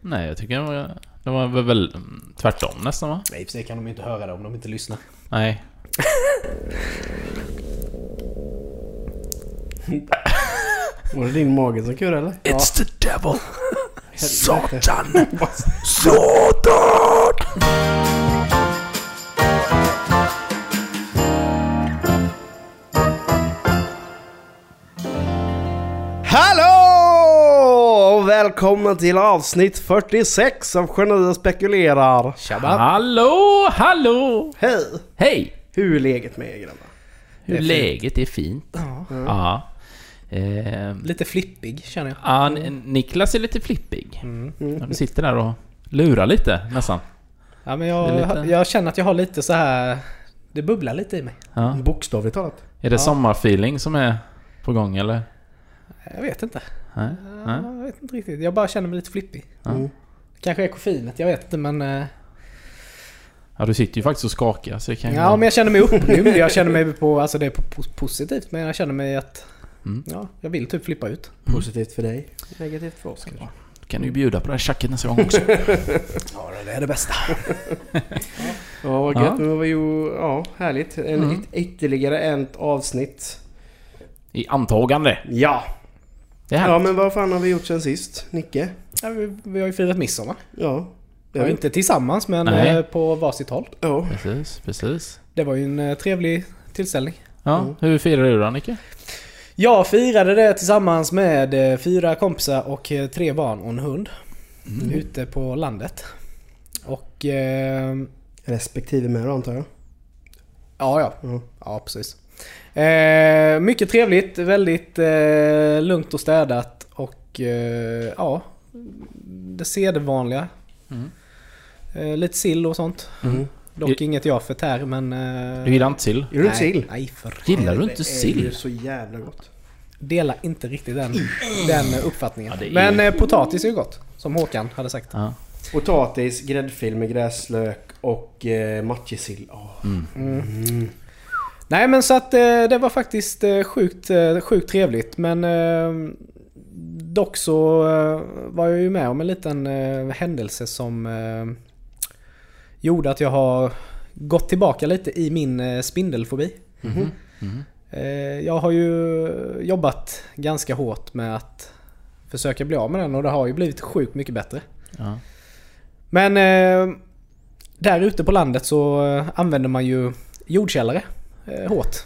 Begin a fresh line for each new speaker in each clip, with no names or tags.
Nej, jag tycker det var, det var väl, väl mm, tvärtom nästan va?
Nej, i och för sig kan de ju inte höra det om de inte lyssnar.
Nej.
Var det din mage som kurrade eller?
It's the devil! Satan!
Hallå! Och välkomna till avsnitt 46 av Genua spekulerar. Tjabba!
Hallå, hallå!
Hej!
Hej!
Hur är läget med er grabbar?
Hur läget är fint. Ja. Ja. Eh,
Lite flippig känner jag.
ja, N-
Mm.
Niklas är lite flippig. Ja, Du sitter där och lurar lite nästan.
Ja, men
Det
jag,
är lite-
jag känner att jag har lite så här... Det bubblar lite i mig.
Ja.
Bokstavligt talat.
Är det sommarfeeling som är på gång eller?
Jag vet inte.
Nej? Nej?
Jag vet inte riktigt. Jag bara känner mig lite flippig.
Ja.
Mm.
Kanske är koffeinet, jag vet inte men... eh,
Ja, du sitter ju faktiskt och skakar så det kan ju
Ja,
vara-
men jag känner mig upprymd. Jag känner mig på... Alltså det är på, på, positivt, men jag känner mig att...
Mm.
Ja, jag vill typ flippa ut.
Positivt för dig. Negativt för oss kanske.
kan du ju bjuda på det här tjacket nästa gång också.
Ja, det är det bästa.
Ja, vad
Ja.
gött. Men det var ju... Ja, härligt. En,
Mm.
yt- Ytterligare ett avsnitt.
I antagande.
Ja!
Det här.
Ja, men vad fan har vi gjort sen sist? Nicke?
Ja, vi, vi har ju firat midsommar.
Ja. Det
Ja,
har vi inte.
inte tillsammans, men
Nej.
eh, på varsitt håll.
Ja.
Precis, precis.
Det var ju en eh, trevlig tillställning.
Ja,
Mm.
hur firar du då Nicke?
Jag firade det tillsammans med eh, fyra kompisar och eh, tre barn och en hund. Ute på landet. Och... Eh,
Respektive med då antar jag.
ja, ja.
Ja.
Ja, precis. Eh, mycket trevligt, väldigt eh, lugnt och städat och eh, ja, det sedvanliga.
Mm.
Eh, lite sill och sånt.
Mm.
Dock
Ju-
inget jag förtär men... Eh,
Du gillar inte sill?
Gör du inte sill?
Nej, för
Gillar du
Det
inte
är ju
sill?
så jävla gott.
Dela inte riktigt den, den uppfattningen.
Ja, det är-
Men eh, potatis är ju gott. Som Håkan hade sagt.
Ja.
Potatis, gräddfil med gräslök och eh, matjessill. Åh.
Mm.
Nej men så att eh, det var faktiskt eh, sjukt, eh, sjukt trevligt men eh, dock så eh, var jag ju med om en liten eh, händelse som eh, gjorde att jag har gått tillbaka lite i min eh, spindelfobi. Mhm. Eh, jag har ju jobbat ganska hårt med att försöka bli av med den och det har ju blivit sjukt mycket bättre.
Ja.
Men eh, där ute på landet så eh, använder man ju jordkällare eh, hårt.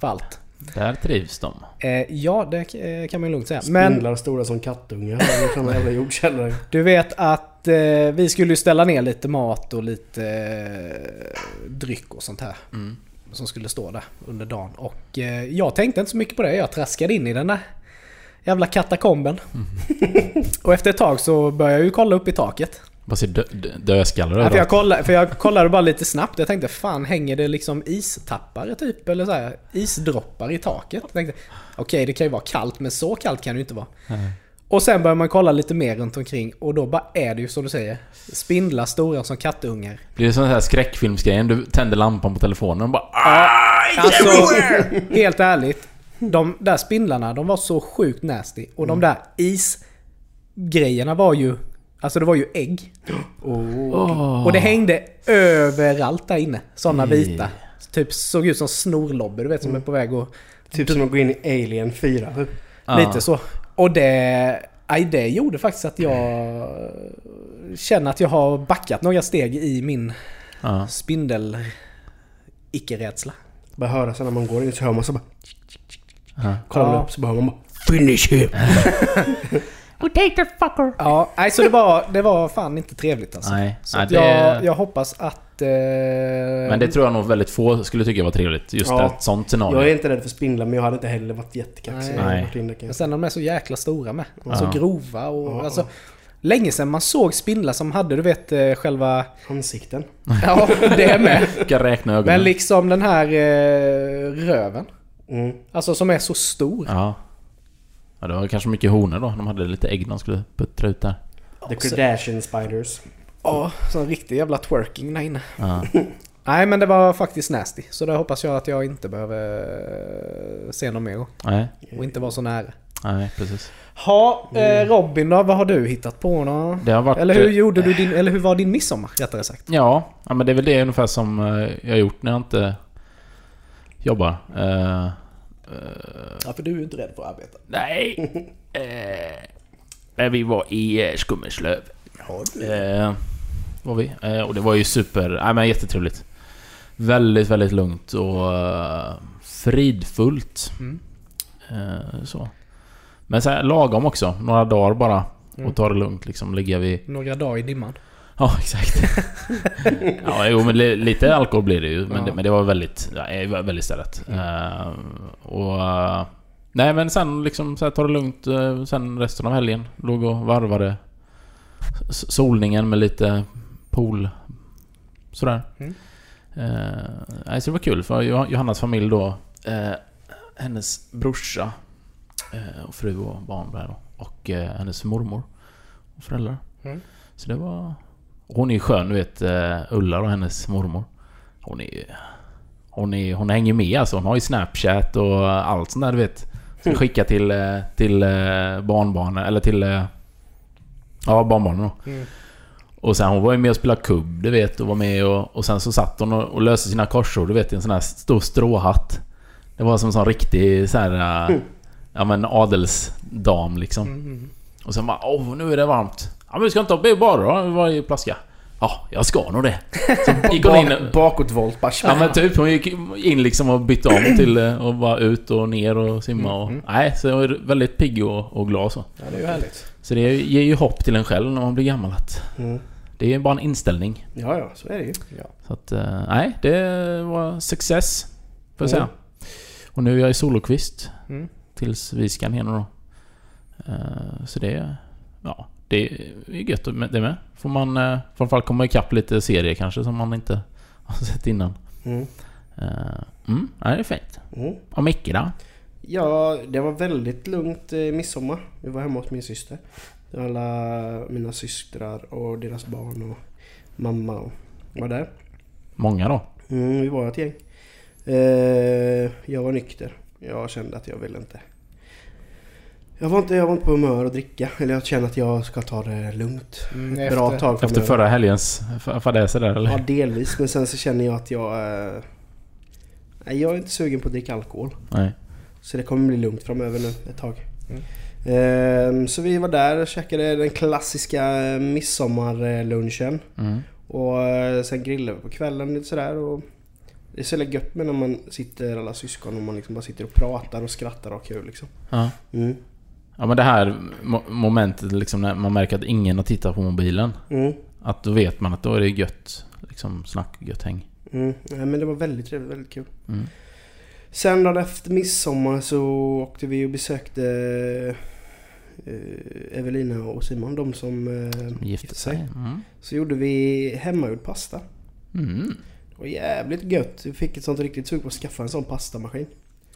För allt.
Där trivs de.
Eh, ja, det eh, kan man ju lugnt säga. Men
Spindlar stora som kattungar. i Såna jävla jordkällare.
du vet att eh, vi skulle ju ställa ner lite mat och lite eh, dryck och sånt här. Som skulle stå där under dagen. Och eh, jag tänkte inte så mycket på det. Jag traskade in i den där jävla katakomben. och efter ett tag så började jag ju kolla upp i taket.
Vad ser dö, dö, dödskallar
Ja, för, jag
överallt?
kollade, för jag kollade bara lite snabbt. Jag tänkte fan hänger det liksom istappare typ? Eller så här, isdroppar i taket? Jag tänkte okej det kan ju vara kallt men så kallt kan det ju inte vara.
Nej.
Och sen börjar man kolla lite mer runt omkring och då bara är det ju som du säger. Spindlar stora som kattungar.
Blir det sån här skräckfilmsgrejen? Du tänder lampan på telefonen och bara ah!
Alltså, helt ärligt. De där spindlarna de var så sjukt nasty. Och de där isgrejerna var ju... Alltså det var ju ägg. Och det hängde överallt där inne. Sådana vita. Typ såg ut som snorlobbor du vet som är på väg och...
Typ som att gå in i Alien 4. typ.
Ah.
Lite så. Och det... Aj, det gjorde faktiskt att jag känner att jag har backat några steg i min
Ja.
spindel... Icke-rädsla.
Bara höra sen när man går in så hör man så bara...
Ja.
Kollar
Ja.
upp så bara hör man bara... Finish him!
Ja, nej, så det var, det var fan inte trevligt alltså.
Nej,
Så
nej,
att
det-
jag, jag hoppas att... Eh,
Men det tror jag nog väldigt få skulle tycka var trevligt. Just
Ja.
ett sånt scenario.
Jag är inte rädd för spindlar men jag hade inte heller varit jättekaxig.
Nej.
Jag hade
Nej.
varit inne, kan
men
jag-
sen de är så jäkla stora med. Så
Ja.
grova och...
Ja,
alltså, Länge sedan man såg spindlar som hade, du vet eh, själva...
Ansikten.
Ja, det med.
Ska räkna ögonen.
Men liksom den här eh, röven.
Mm.
Alltså som är så stor.
Ja. ja. Det var kanske mycket honor då. De hade lite ägg de skulle puttra ut där.
The
Och så-
Kardashian Spiders.
Ja, så en riktig jävla twerking där inne.
Ja.
Nej men det var faktiskt nasty. Så det hoppas jag att jag inte behöver eh, se någon mer gång.
Nej.
Och inte vara så nära.
Nej, precis.
Ha, eh, Robin då? Vad har du hittat på då?
Det har varit...
Eller hur
eh,
gjorde du din, eller hur var din midsommar rättare sagt?
Ja, ja, men det är väl det ungefär som eh, jag har gjort när jag inte jobbar. Eh,
Ja, för du är ju inte rädd för att arbeta.
Nej. Eh, men vi var i eh, Skummeslöv.
Ja, du.
Eh, var vi. Eh, och det var ju super... Nej men jättetrevligt. Väldigt, väldigt lugnt och eh, fridfullt.
Mm.
Eh, så. Men så här, lagom också. Några dagar bara.
Mm.
Och ta det lugnt liksom. Ligga vid...
Några dagar i dimman.
Ja, exakt. ja, jo, men li- lite alkohol blir det ju. Men,
Ja. Mm.
det, men det var väldigt, ja, det var väldigt städat. Eh, och... eh, nej, men sen liksom så här, ta det lugnt. eh, sen resten av helgen. Låg och varvade s- solningen med lite pool... Sådär.
Mm.
Eh, nej, så det var kul för Jo- Johannas familj då. eh, hennes brorsa eh, och fru och barn där då. Och eh, hennes mormor och föräldrar.
Mm.
Så det var... Hon är ju skön, du vet eh, Ulla och hennes mormor. Hon är ju... Hon, är, hon hänger med alltså. Hon har ju Snapchat och allt sånt där du vet. Ska
Mm.
skicka till, eh, till eh, barnbarnen, eller till... eh, Ja, barnbarnen då.
Mm.
Och sen hon var ju med och spelade kubb, du vet, och var med och, och sen så satt hon och, och löste sina korsord, du vet, i en sån här stor stråhatt. Det var som en sån riktig så här... eh, Ja men adelsdam liksom.
Mm.
Och sen bara åh nu är det varmt. Ja men ska inte hoppa i bara då? Vi var i plaska. Ja, jag ska nog det. Så gick hon in...
Bak, bakåtvolt bara
Ja men typ, hon gick in liksom och bytte om till eh, och var ut och ner och simma och...
Mm,
Nej, så jag är väldigt pigg och, och glad så.
Ja, det är ju härligt.
Så det ger ju hopp till en själv när man blir gammal att...
Mm.
Det är bara en inställning.
Ja, ja, så är det ju.
Så att, eh, nej, det var success. Får jag säga.
Mm.
Och nu är jag i solokvist.
Mm.
Tills vi ska ner då. Eh, Så det, ja, det är gött med- det med. Får man eh, framförallt komma ikapp lite serier kanske som man inte har sett innan.
Mm.
Eh, Mm, ja, det är fint.
Mm.
Och Micke då?
Ja, det var väldigt lugnt eh, midsommar. Vi var hemma hos min syster. Det var alla mina systrar och deras barn och mamma och var där.
Många då?
Mm, vi var ett gäng. Eh, jag var nykter. Jag kände att jag ville inte. Jag var inte, jag var inte på humör att dricka. Eller jag känner att jag ska ta det lugnt.
Mm,
Ett bra
efter-
tag
Efter
framöver.
förra helgens fa- fadäser där eller?
Ja, delvis. Men sen så känner jag att jag... eh, nej, jag är inte sugen på att dricka alkohol.
Nej.
Så det kommer bli lugnt framöver nu ett tag.
Mm.
Ehm, så vi var där och käkade den klassiska eh, midsommarlunchen.
Mm.
Och eh, sen grillade vi på kvällen lite sådär. Och det är så jävla gött med när man sitter alla syskon och man liksom bara sitter och pratar och skrattar och har kul liksom.
Ja.
Mm.
ja men det här mo- momentet liksom när man märker att ingen har tittat på mobilen.
Mm.
Att då vet man att då är det gött liksom, snack och gött häng.
Mm. Nej, men det var väldigt trevligt, väldigt kul.
Mm.
Sen dagen efter midsommar så åkte vi och besökte eh, Evelina och Simon, de som eh,
Gifte sig. Mm.
Så gjorde vi hemmagjord pasta.
Mm.
Det var jävligt gött. Vi fick ett sånt riktigt sug på att skaffa en sån pastamaskin.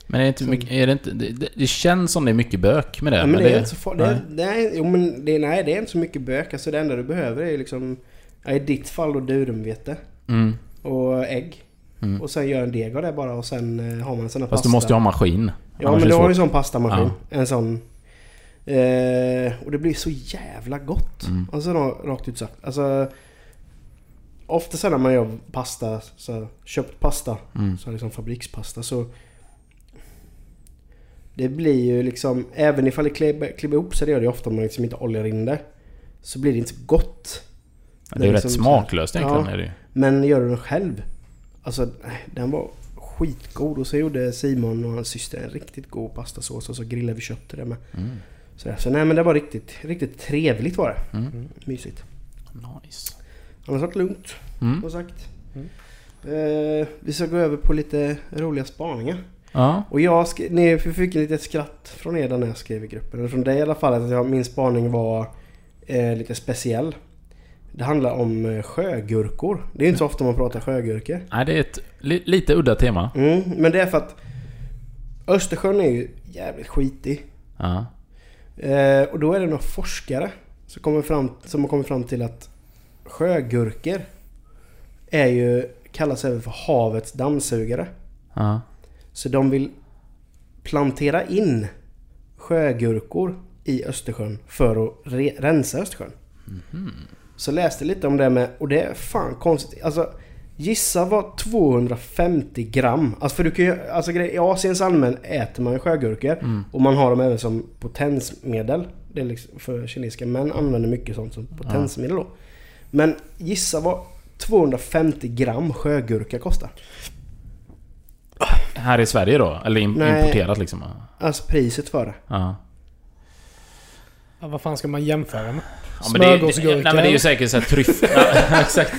Men är det, inte mycket, är det, inte, det, det- det känns som det är mycket bök med det.
Ja, men det, är
det-
inte så farligt. Nej. nej, jo, men det, nej, det är inte så mycket bök. Alltså det enda du behöver är ju liksom... Ja, I ditt fall då durumvete
Mm.
och ägg.
Mm.
Och sen gör en deg av det bara och sen eh, har man en sån här
Fast
pasta.
du måste ju ha maskin.
Ja
Annars är
men du
det
har ju en
svårt.
sån pastamaskin. En sån. Eh, och det blir så jävla gott.
Mm.
Alltså ra- rakt ut sagt. Alltså, ofta sen när man gör pasta, så här, köpt pasta,
Mm.
så här liksom fabrikspasta så Det blir ju liksom, även ifall det klibbar, klibbar ihop sig, det gör det ju ofta om man liksom inte oljar in det. Så blir det inte så gott.
Det är ju rätt
liksom så här-
smaklöst egentligen.
Ja.
Är det ju.
Men gör du den själv? Alltså nej, den var skitgod och så gjorde Simon och hans syster en riktigt god pastasås och så grillade vi kött till det med.
Mm.
Så, där. så nej men det var riktigt, riktigt trevligt var det.
Mm.
Mysigt.
Nice.
Annars har det lugnt
Mm.
som sagt.
Mm.
Eh, vi ska gå över på lite roliga spaningar.
Ja.
Och jag sk- ni fick ett litet skratt från er där när jag skrev i gruppen. Eller från dig i alla fall att jag, min spaning var eh, lite speciell. Det handlar om eh, sjögurkor. Det är ju inte så ofta man pratar sjögurkor.
Nej, det är ett li, lite udda tema.
Mm, men det är för att Östersjön är ju jävligt skitig.
Ja.
Eh, och då är det några forskare som, kommer fram, som har kommit fram till att sjögurkor är ju, kallas även för havets dammsugare.
Ja.
Så de vill plantera in sjögurkor i Östersjön för att re- rensa Östersjön. Så läste lite om det med, och det är fan konstigt. Alltså, gissa vad 250 gram, alltså för du kan ju, alltså grej- i Asiens allmän äter man ju sjögurkor och man har dem även som potensmedel. Det är liksom för kinesiska män använder mycket sånt som potensmedel då. Men gissa vad 250 gram sjögurka kostar.
Här i Sverige då? Eller im-
Nej.
importerat liksom?
Alltså priset för det.
Ja.
Ja, vad fan ska man jämföra med?
Ja, men det, är-
Smörgåsgurka,
nej men det är ju säkert såhär tryffel... ja, exakt.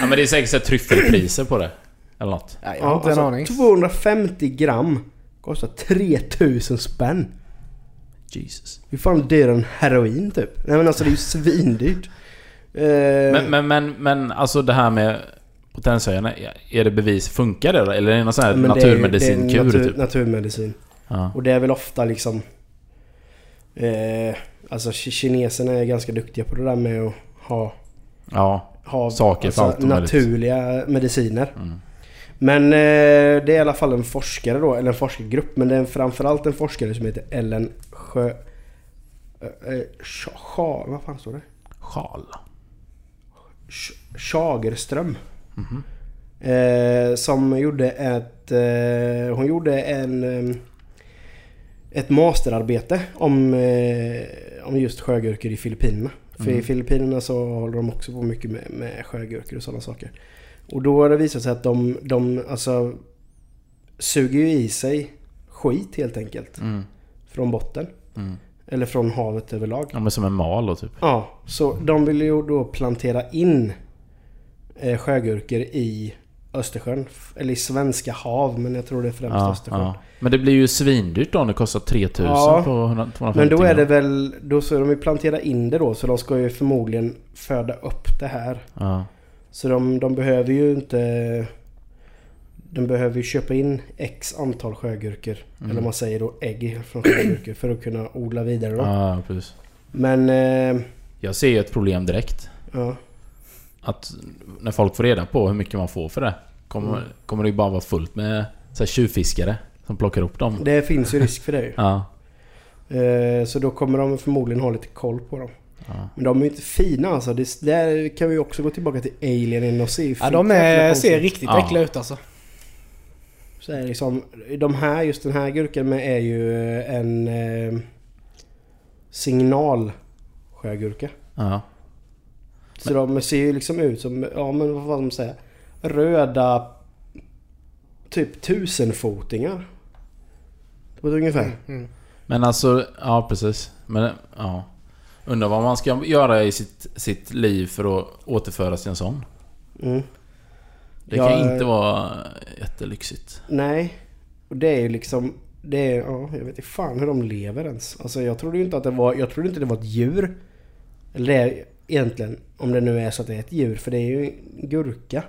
Ja men det är säkert såhär tryffelpriser på det. Eller något.
Nej, jag har inte
Alltså,
en aning.
250 Alltså, gram kostar 3000 spänn.
Jesus.
Hur fan dyrare än heroin typ? Nej men alltså det är ju svindyrt. Eh,
Men, men, men, men alltså det här med potenshöjarna. Är det bevis? Funkar det? Eller är det någon sån här
men det är ju- det är
naturmedicinkur
natur-
typ?
Naturmedicin.
Ja.
Och det är väl ofta liksom... Eh, alltså ki- kineserna är ganska duktiga på det där med att ha...
ja.
ha alltså,
Saker för allt och Mm. möjligt.
Naturliga mediciner. Men eh, det är i alla fall en forskare då, eller en forskargrupp. Men det är framförallt en forskare som heter Ellen Sjö... Eh, eh, Scha- Scha- vad fan står det?
Sjal.
Sch- Schagerström. Eh, som gjorde ett... Eh, hon gjorde en... Eh, ett masterarbete om, eh, om just sjögurkor i Filippinerna. För i Filippinerna så håller de också på mycket med, med sjögurkor och sådana saker. Och då har det visat sig att de, de alltså, suger ju i sig skit helt enkelt.
Mm.
Från botten.
Mm.
Eller från havet överlag.
Ja men som en mal då typ.
Ja, så de ville ju då plantera in eh, sjögurkor i Östersjön. F- Eller i svenska hav, men jag tror det är främst
Ja,
Östersjön.
ja. Men det blir ju svindyrt då om det kostar 3000
Ja.
på 100 250
Men då är det
gram.
väl, då ska de ju plantera in det då, så de ska ju förmodligen föda upp det här.
Ja.
Så de, de behöver ju inte... De behöver ju köpa in x antal sjögurkor.
Mm.
Eller om man säger då ägg från sjögurkor för att kunna odla vidare då.
ja, precis.
Men... Eh,
Jag ser ju ett problem direkt.
ja.
att när folk får reda på hur mycket man får för det kommer,
Mm.
kommer det ju bara vara fullt med så här tjuvfiskare som plockar upp dem.
Det finns ju risk för det ju.
Ja.
Eh, Så då kommer de förmodligen ha lite koll på dem.
Ja.
Men de är ju inte fina alltså. Det, där kan vi också gå tillbaka till Alien och se. hur
Ja, de
jävla
är,
konstiga-
ser riktigt
Ja.
äckliga ut alltså.
Så är det liksom, de här, just den här gurkan med är ju eh, en eh, signal sjögurka.
Ja.
Så de ser ju liksom ut som, ja men vad fan ska man säga? Röda typ tusenfotingar. På ett ungefär.
Mm.
Men alltså, ja precis. Men ja. Undrar vad man ska göra i sitt, sitt liv för att återföras till en sån.
Mm.
Det kan
Jag-
ju inte vara jättelyxigt.
Nej. Och det är ju liksom... Det är, ja, jag vet inte fan hur de lever ens. Alltså jag trodde ju inte att det var... Jag trodde inte det var ett djur. Eller det är egentligen... Om det nu är så att det är ett djur. För det är ju en gurka.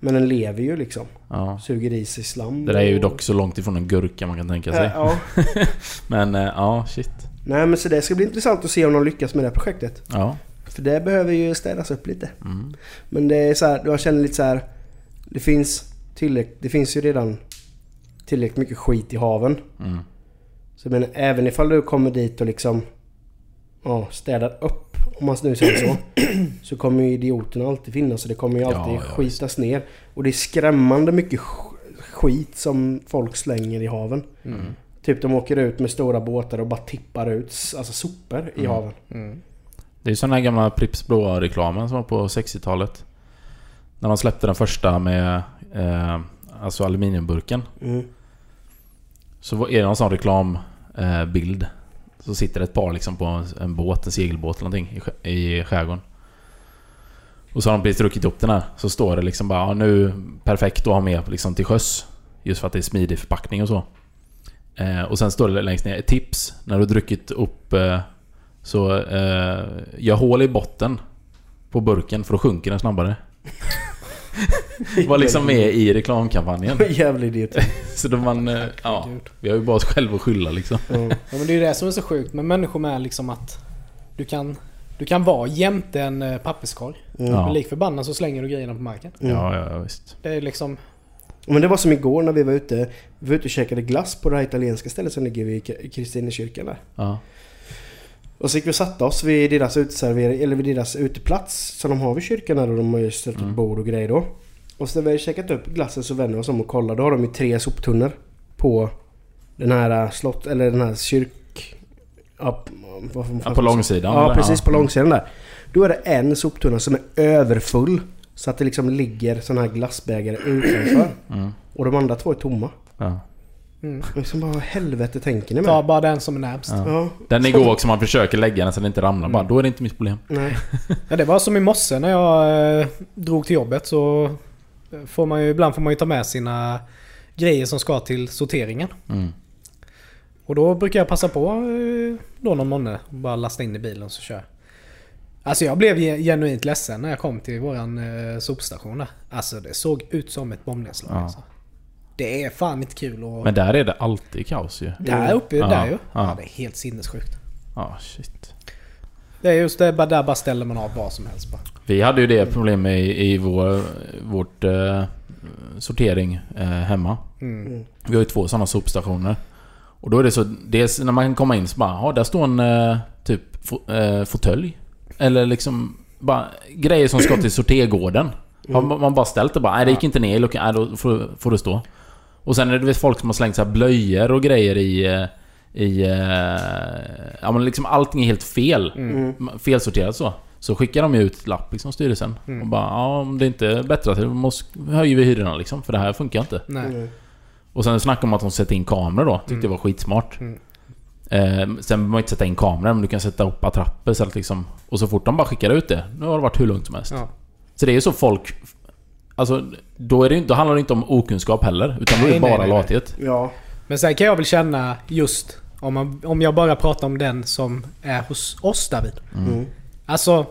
Men den lever ju liksom.
Ja.
Suger i sig slam.
Det där är ju
och-
dock så långt ifrån en gurka man kan tänka
Ja,
sig.
ja.
Men eh, ja, shit.
Nej men så det ska bli intressant att se om de lyckas med det här projektet.
Ja.
För det behöver ju städas upp lite.
Mm.
Men det är så här, jag känner lite så här. Det finns tillräckligt... Det finns ju redan tillräckligt mycket skit i haven.
Mm.
Så jag menar, även ifall du kommer dit och liksom ja, städar upp, om man nu säger så. så kommer ju idioterna alltid finnas och det kommer ju alltid
Ja, ja,
skitas ner. Och det är skrämmande mycket sk- skit som folk slänger i haven.
Mm.
Mm.
Typ de åker ut med stora båtar och bara tippar ut s- alltså sopor
Mm.
i haven.
Mm.
Det är ju sån här gamla Pripps Blåa-reklamen som var på 60-talet. När de släppte den första med eh, alltså aluminiumburken.
Mm.
Så var- är det någon sån reklambild. Eh, bild. så sitter det ett par liksom på en, en båt, en segelbåt eller någonting i, skär- i skärgården. Och så har de precis druckit upp den här. Så står det liksom bara ja, nu perfekt att ha med liksom till sjöss. Just för att det är smidig förpackning och så. Eh, och sen står det längst ner ett tips. När du har druckit upp eh, så eh, gör hål i botten på burken för då sjunker den snabbare. Var liksom med i reklamkampanjen.
Jävla idiot.
Så då man... eh, Ja, vi har ju bara oss själva att skylla liksom.
Ja, men det är ju det som är så sjukt med människor med liksom att du kan, du kan vara jämte en eh, papperskorg. Men
Ja.
lik förbannat så slänger du grejerna på marken.
Ja, ja, ja, visst.
Det är liksom...
Men det var som igår när vi var ute. Vi var ute och käkade glass på det här italienska stället som ligger vid K- Kristinekyrkan där.
Ja.
Och så gick vi och satte oss vid deras uteservering, eller vid deras uteplats som de har vid kyrkan där och de har ju ställt
Mm.
upp bord och grejer då. Och så när vi hade käkat upp glassen så vände vi oss om och kollade. Då har de ju tre soptunnor på den här äh, slott, eller den här kyrk... Ja, p- vad- vad-
Ja, på långsidan?
Ja,
eller? Mm.
precis på långsidan där. Då är det en soptunna som är överfull. Så att det liksom ligger sådana här glassbägare utanför.
Mm.
Och de andra två är tomma.
Ja.
Och liksom bara vad i helvete tänker ni med?
mm, Ta bara den som är närmst. Ja.
Ja,
Den igår också, man försöker lägga den så den inte ramlar bara. Då är det inte mitt problem.
nej.
det var som i morse när jag eh, drog till jobbet så eh, får man ju, ibland får man ju ta med sina grejer som ska till sorteringen.
Mm.
Och då brukar jag passa på eh, då någon månad och bara lasta in i bilen så kör jag. Alltså jag blev ge- genuint ledsen när jag kom till våran eh, sopstation där. Alltså det såg ut som ett bombnedslag
Ja.
alltså. Det är fan inte kul att...
Men där är det alltid kaos ju.
där uppe,
Ja,
där ju.
ja.
Ja. det är helt sinnessjukt.
Ja, shit.
Det är just det, bara där bara ställer man av vad som helst bara.
Vi hade ju det problemet i, i vår, vårt eh, sortering eh, hemma. Vi har ju två sådana sopstationer. Och då är det så, dels när man kommer in så bara, ja där står en eh, typ fo- eh, fåtölj. Eller liksom bara grejer som ska till sortergården. Har man- man bara ställt det bara, nej det gick inte ner i luckan, nej då får, får det stå. Och sen är det visst folk som har slängt så här blöjor och grejer i... eh, i eh, ja men liksom allting är helt fel. Mm. Felsorterat så. Så skickar de ju ut lapp liksom, styrelsen. Och bara, ja om det inte är bättre så måste, höjer vi hyrorna liksom. För det här funkar inte.
Nej.
Mm.
Och sen snackar de om att de sätter in kameror då.
Mm.
Tyckte det var skitsmart. Eh, sen behöver man inte sätta in kameror, men du kan sätta upp attrapper så att liksom... Och så fort de bara skickar ut det, nu har det varit hur lugnt som helst.
Ja.
Så det är ju så folk... Alltså, då, är det, ju- då handlar det inte om okunskap heller. Utan då är det
Nej,
bara
nej, nej, nej.
lathet.
Ja.
Men sen kan jag väl känna just om, man, om jag bara pratar om den som är hos oss David.
Mm.
Alltså,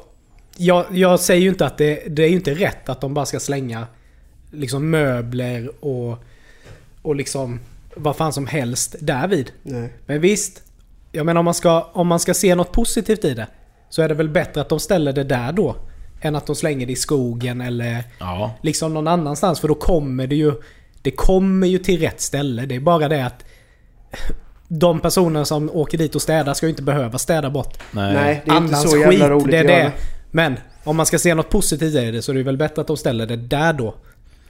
jag, jag säger ju inte att det, det är ju inte rätt att de bara ska slänga liksom möbler och, och liksom vad fan som helst därvid.
Nej.
Men visst, jag menar om man, ska, om man ska se något positivt i det så är det väl bättre att de ställer det där då än att de slänger det i skogen eller
Ja.
liksom någon annanstans. För då kommer det ju... Det kommer ju till rätt ställe. Det är bara det att de personer som åker dit och städar ska ju inte behöva städa bort
Nej.
Nej, det är inte
annans
så
skit.
jävla roligt
det är
att
det.
göra.
Men om man ska se något positivt i det så är det väl bättre att de ställer det där då.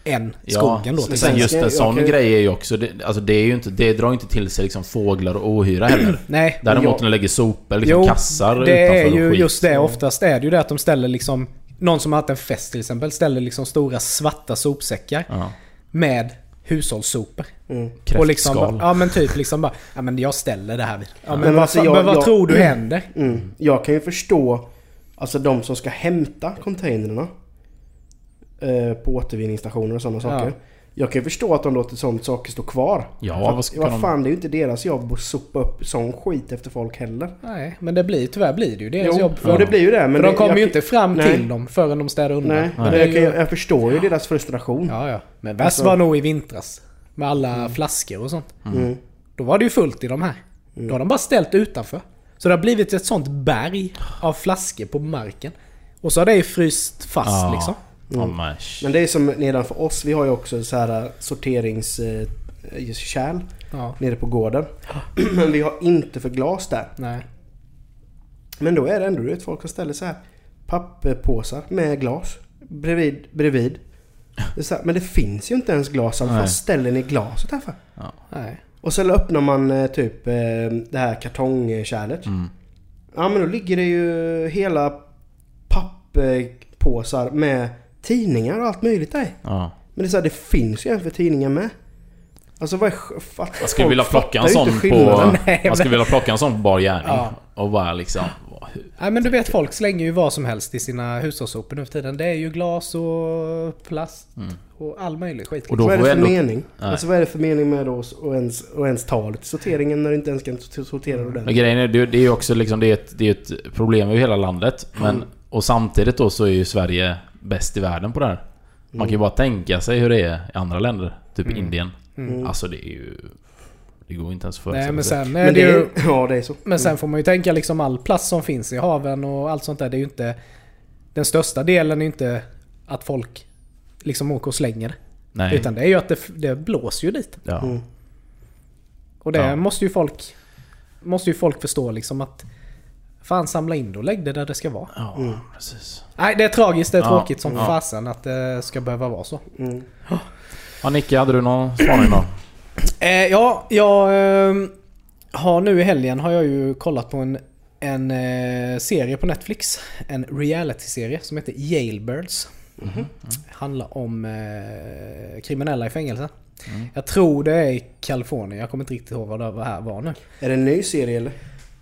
Än skogen då. till
men
exempel.
sen just en
Jag
sån
kan-
grej är ju också... Det, alltså det, är ju inte, det drar ju inte till sig liksom fåglar och ohyra heller.
Nej.
Däremot
jag-
när de lägger sopor, liksom kassar
det är
utanför och
ju
skit.
just det. Oftast är det ju det att de ställer liksom... Någon som har haft en fest till exempel ställer liksom stora svarta sopsäckar.
Ja.
Med hushållssopor. Och
Mm.
Kräftskal.
liksom, bara- ja men typ liksom bara, ja men jag ställer det här vid. Ja, men,
Men
vad,
alltså,
fan-
jag-
men vad
jag-
tror du händer?
Mm. Jag kan ju förstå alltså de som ska hämta containrarna eh, på återvinningsstationer och sådana saker. Jag kan ju förstå att de låter sånt saker stå kvar.
Ja,
För att-
vad ska de-
vad fan, det är ju inte deras jobb att sopa upp sån skit efter folk heller.
Mm.
Nej, men det blir, tyvärr blir det ju deras
Jo,
jobb.
och det blir ju det. Men
för
det,
de kommer
jag
ju
kan-
inte fram
nej.
till dem förrän de städar undan.
Nej,
Men
men
det är
jag, kan,
ju,
ju- jag förstår ju deras frustration.
ja, ja. Men värst var nog i vintras. Med alla flaskor och sånt.
Mm.
Då var det ju fullt i de här. Då har de bara ställt utanför. Så det har blivit ett sånt berg av flaskor på marken. Och så har det ju fryst fast
Ja.
liksom.
Ja, men shit.
Men det är som nedanför oss, vi har ju också så här sorteringskärl eh, just kärl
Ja,
nere på gården. Men vi har inte för glas där.
nej.
Men då är det ändå du vet, folk som ställer så här papperpåsar med glas bredvid. bredvid. Det är så här, men det finns ju inte ens glas. Alltså,
Nej.
vad ställer ni glaset här för?
nej.
Och så öppnar man eh, typ eh, det här kartongkärlet.
Mm.
Ja men då ligger det ju hela papperpåsar med tidningar och allt möjligt där i.
Ja.
Men det, är så här, det finns ju en för tidningar med. Alltså vad är... sk- Fatt,
Man skulle
folk
vilja plocka en
fattar ju
sån
inte
på...
skillnaden.
Nej,
man skulle
men-
vilja plocka en sån på bar gärning.
Ja.
Och bara liksom... vad- hur-
Nej men du vet folk slänger ju vad som helst i sina hushållssopor nu för tiden. Det är ju glas och plast och all möjlig skit.
Mm. Och då
vad är
får
det
vi
för
ändå...
mening? Alltså vad är det för mening med oss och ens, och ens tal till sorteringen när du inte ens kan so- sortera
Men
ordentligt?
grejen är, det det är ju också liksom... Det är ett, det är ett problem i hela landet. Men...
Mm.
Och samtidigt då så är ju Sverige bäst i världen på det här. Man kan
Mm.
ju bara tänka sig hur det är i andra länder. Typ Indien.
Mm.
Alltså det är ju... Det går inte ens för
Nej men sen är
Mm. Men
det
det
ju...
är, ja det är så.
Men
Mm.
sen får man ju tänka liksom all plast som finns i haven och allt sånt där. Det är ju inte... Den största delen är ju inte att folk liksom åker och slänger det.
Nej.
Utan det är ju att det, det blåser ju lite.
ja.
Mm.
Och det
Ja.
måste ju folk måste ju folk förstå liksom att Fan samla in det och lägg det där det ska vara.
ja,
Mm.
precis.
Nej det är tragiskt, det är
Ja.
tråkigt som
Ja.
fasen att det ska behöva vara så.
Mm.
Ja, Nicke, hade du någon spaning då?
Eh, ja, jag ehm, har nu i helgen har jag ju kollat på en, en eh, serie på Netflix. En reality-serie som heter Jailbirds. Handlar om eh, kriminella i fängelse.
Mm.
Jag tror det är i Kalifornien, jag kommer inte riktigt ihåg vad det här var nu.
Är det en ny serie eller?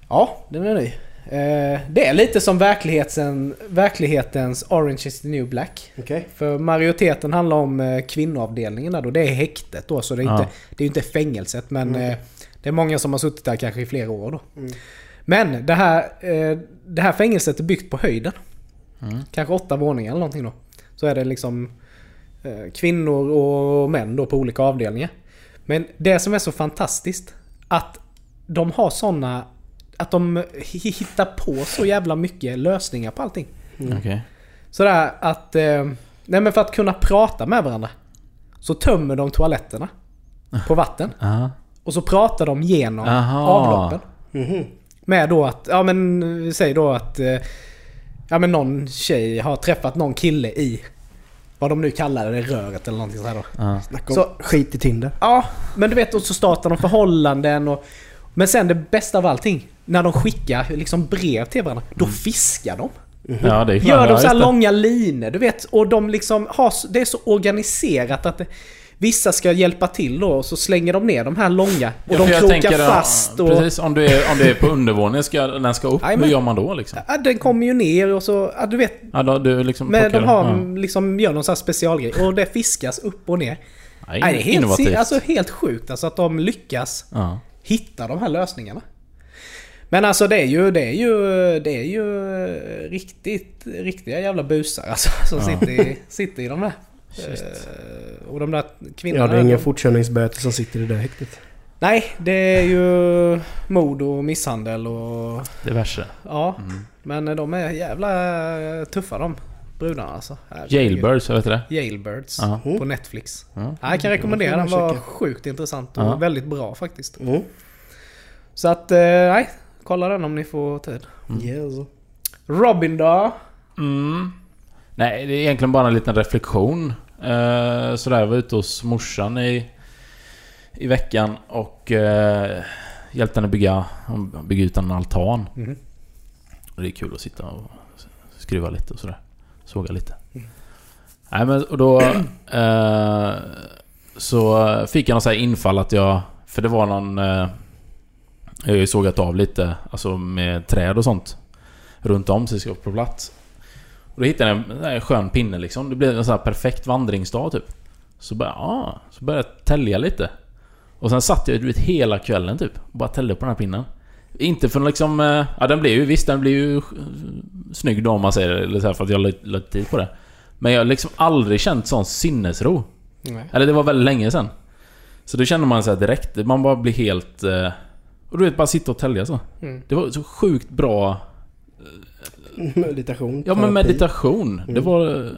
Ja, den är ny. Eh, det är lite som verkligheten, verklighetens Orange is the new black.
Okej.
För majoriteten handlar om eh, kvinnoavdelningen där då. Det är häktet då, så det är,
Ja.
inte, det är inte fängelset. Men eh, det är många som har suttit där kanske i flera år då.
Mm.
Men det här, eh, det här fängelset är byggt på höjden. Kanske åtta våningar eller någonting då. Så är det liksom eh, kvinnor och män då på olika avdelningar. Men det som är så fantastiskt att de har såna... Att de hittar på så jävla mycket lösningar på allting.
Mm.
Okej.
Mm. Sådär att... Eh, nej men för att kunna prata med varandra. Så tömmer de toaletterna. På vatten.
Aha.
Och så pratar de genom
Aha.
avloppen.
Mhm.
Med då att, ja men eh, säg då att... Eh, ja men någon tjej har träffat någon kille i... Vad de nu kallar det, röret eller någonting sådär då.
Ja.
Snacka om
Så-
skit i Tinder.
Ja, men du vet och så startar de förhållanden och... Men sen det bästa av allting. När de skickar liksom brev till varandra, då
Mm.
fiskar de.
Mm.
ja, det är
Gör de så här
just det.
långa linor, du vet. Och de liksom har, s- det är så organiserat att det, vissa ska hjälpa till då och så slänger de ner de här långa. Och
Ja,
de
för jag
krokar
tänker, ja,
fast och...
Precis, om du är, om du är på undervåningen, ska den ska upp,
Jajamän.
hur gör man då liksom?
Ja, den kommer ju ner och så, ja, du vet.
Ja, då, du liksom
Men
plockar
de har,
den.
liksom, gör någon sån här specialgrej och det fiskas upp och ner.
Ja.
Nej, det är helt,
innovativt.
si- alltså, helt sjukt alltså att de lyckas
ja.
hitta de här lösningarna. Men alltså det är ju, det är ju, det är ju riktigt, riktiga jävla busar alltså, som sitter, i, sitter i de där. Eh, och de där kvinnorna.
Ja, det är ingen
de,
fortkörningsböter som sitter i det häktet.
nej, det är ju mord och misshandel och...
Diverse.
Ja,
Mm.
men de är jävla tuffa de brudarna alltså. Herregud.
Jailbirds, vad heter det?
Jailbirds
Ja.
på Netflix.
Ja.
Ja, jag kan rekommendera den,
Oh. får man
var
checka.
sjukt intressant och
Ja.
väldigt bra faktiskt.
Mm.
Så att, eh, nej. Kolla den om ni får tid.
Yes.
Robin då?
Mm. Nej, det är egentligen bara en liten reflektion. Eh, sådär, jag var ute hos morsan i, i veckan och eh, hjälpte henne bygga, hon bygger ut en altan.
Mhm.
Och det är kul att sitta och skruva lite och sådär. Såga lite. Nej men och då... eh, så fick jag något så här infall att jag... För det var någon... Eh, jag har ju sågat av lite, alltså med träd och sånt. Runt om så det ska vara på plats. Och då hittade jag en, en skön pinne liksom. Det blev en sån här perfekt vandringsdag typ. Så började, ah, så började jag tälja lite. Och sen satt jag du vet, hela kvällen typ. Och bara täljde på den här pinnen. Inte för liksom... eh, Ja den blev ju visst, den blev ju eh, snygg då om man säger det. Eller så här, för att jag lade- lade tid på det. Men jag har liksom aldrig känt sån sinnesro.
Nej. Mm.
Eller det var väldigt länge sedan. Så då känner man så här direkt, man bara blir helt... eh, Och du vet, bara sitta och tälja så.
Mm.
Det var så sjukt bra
Meditation.
Ja men
terapi.
meditation. Det
Mm.
var...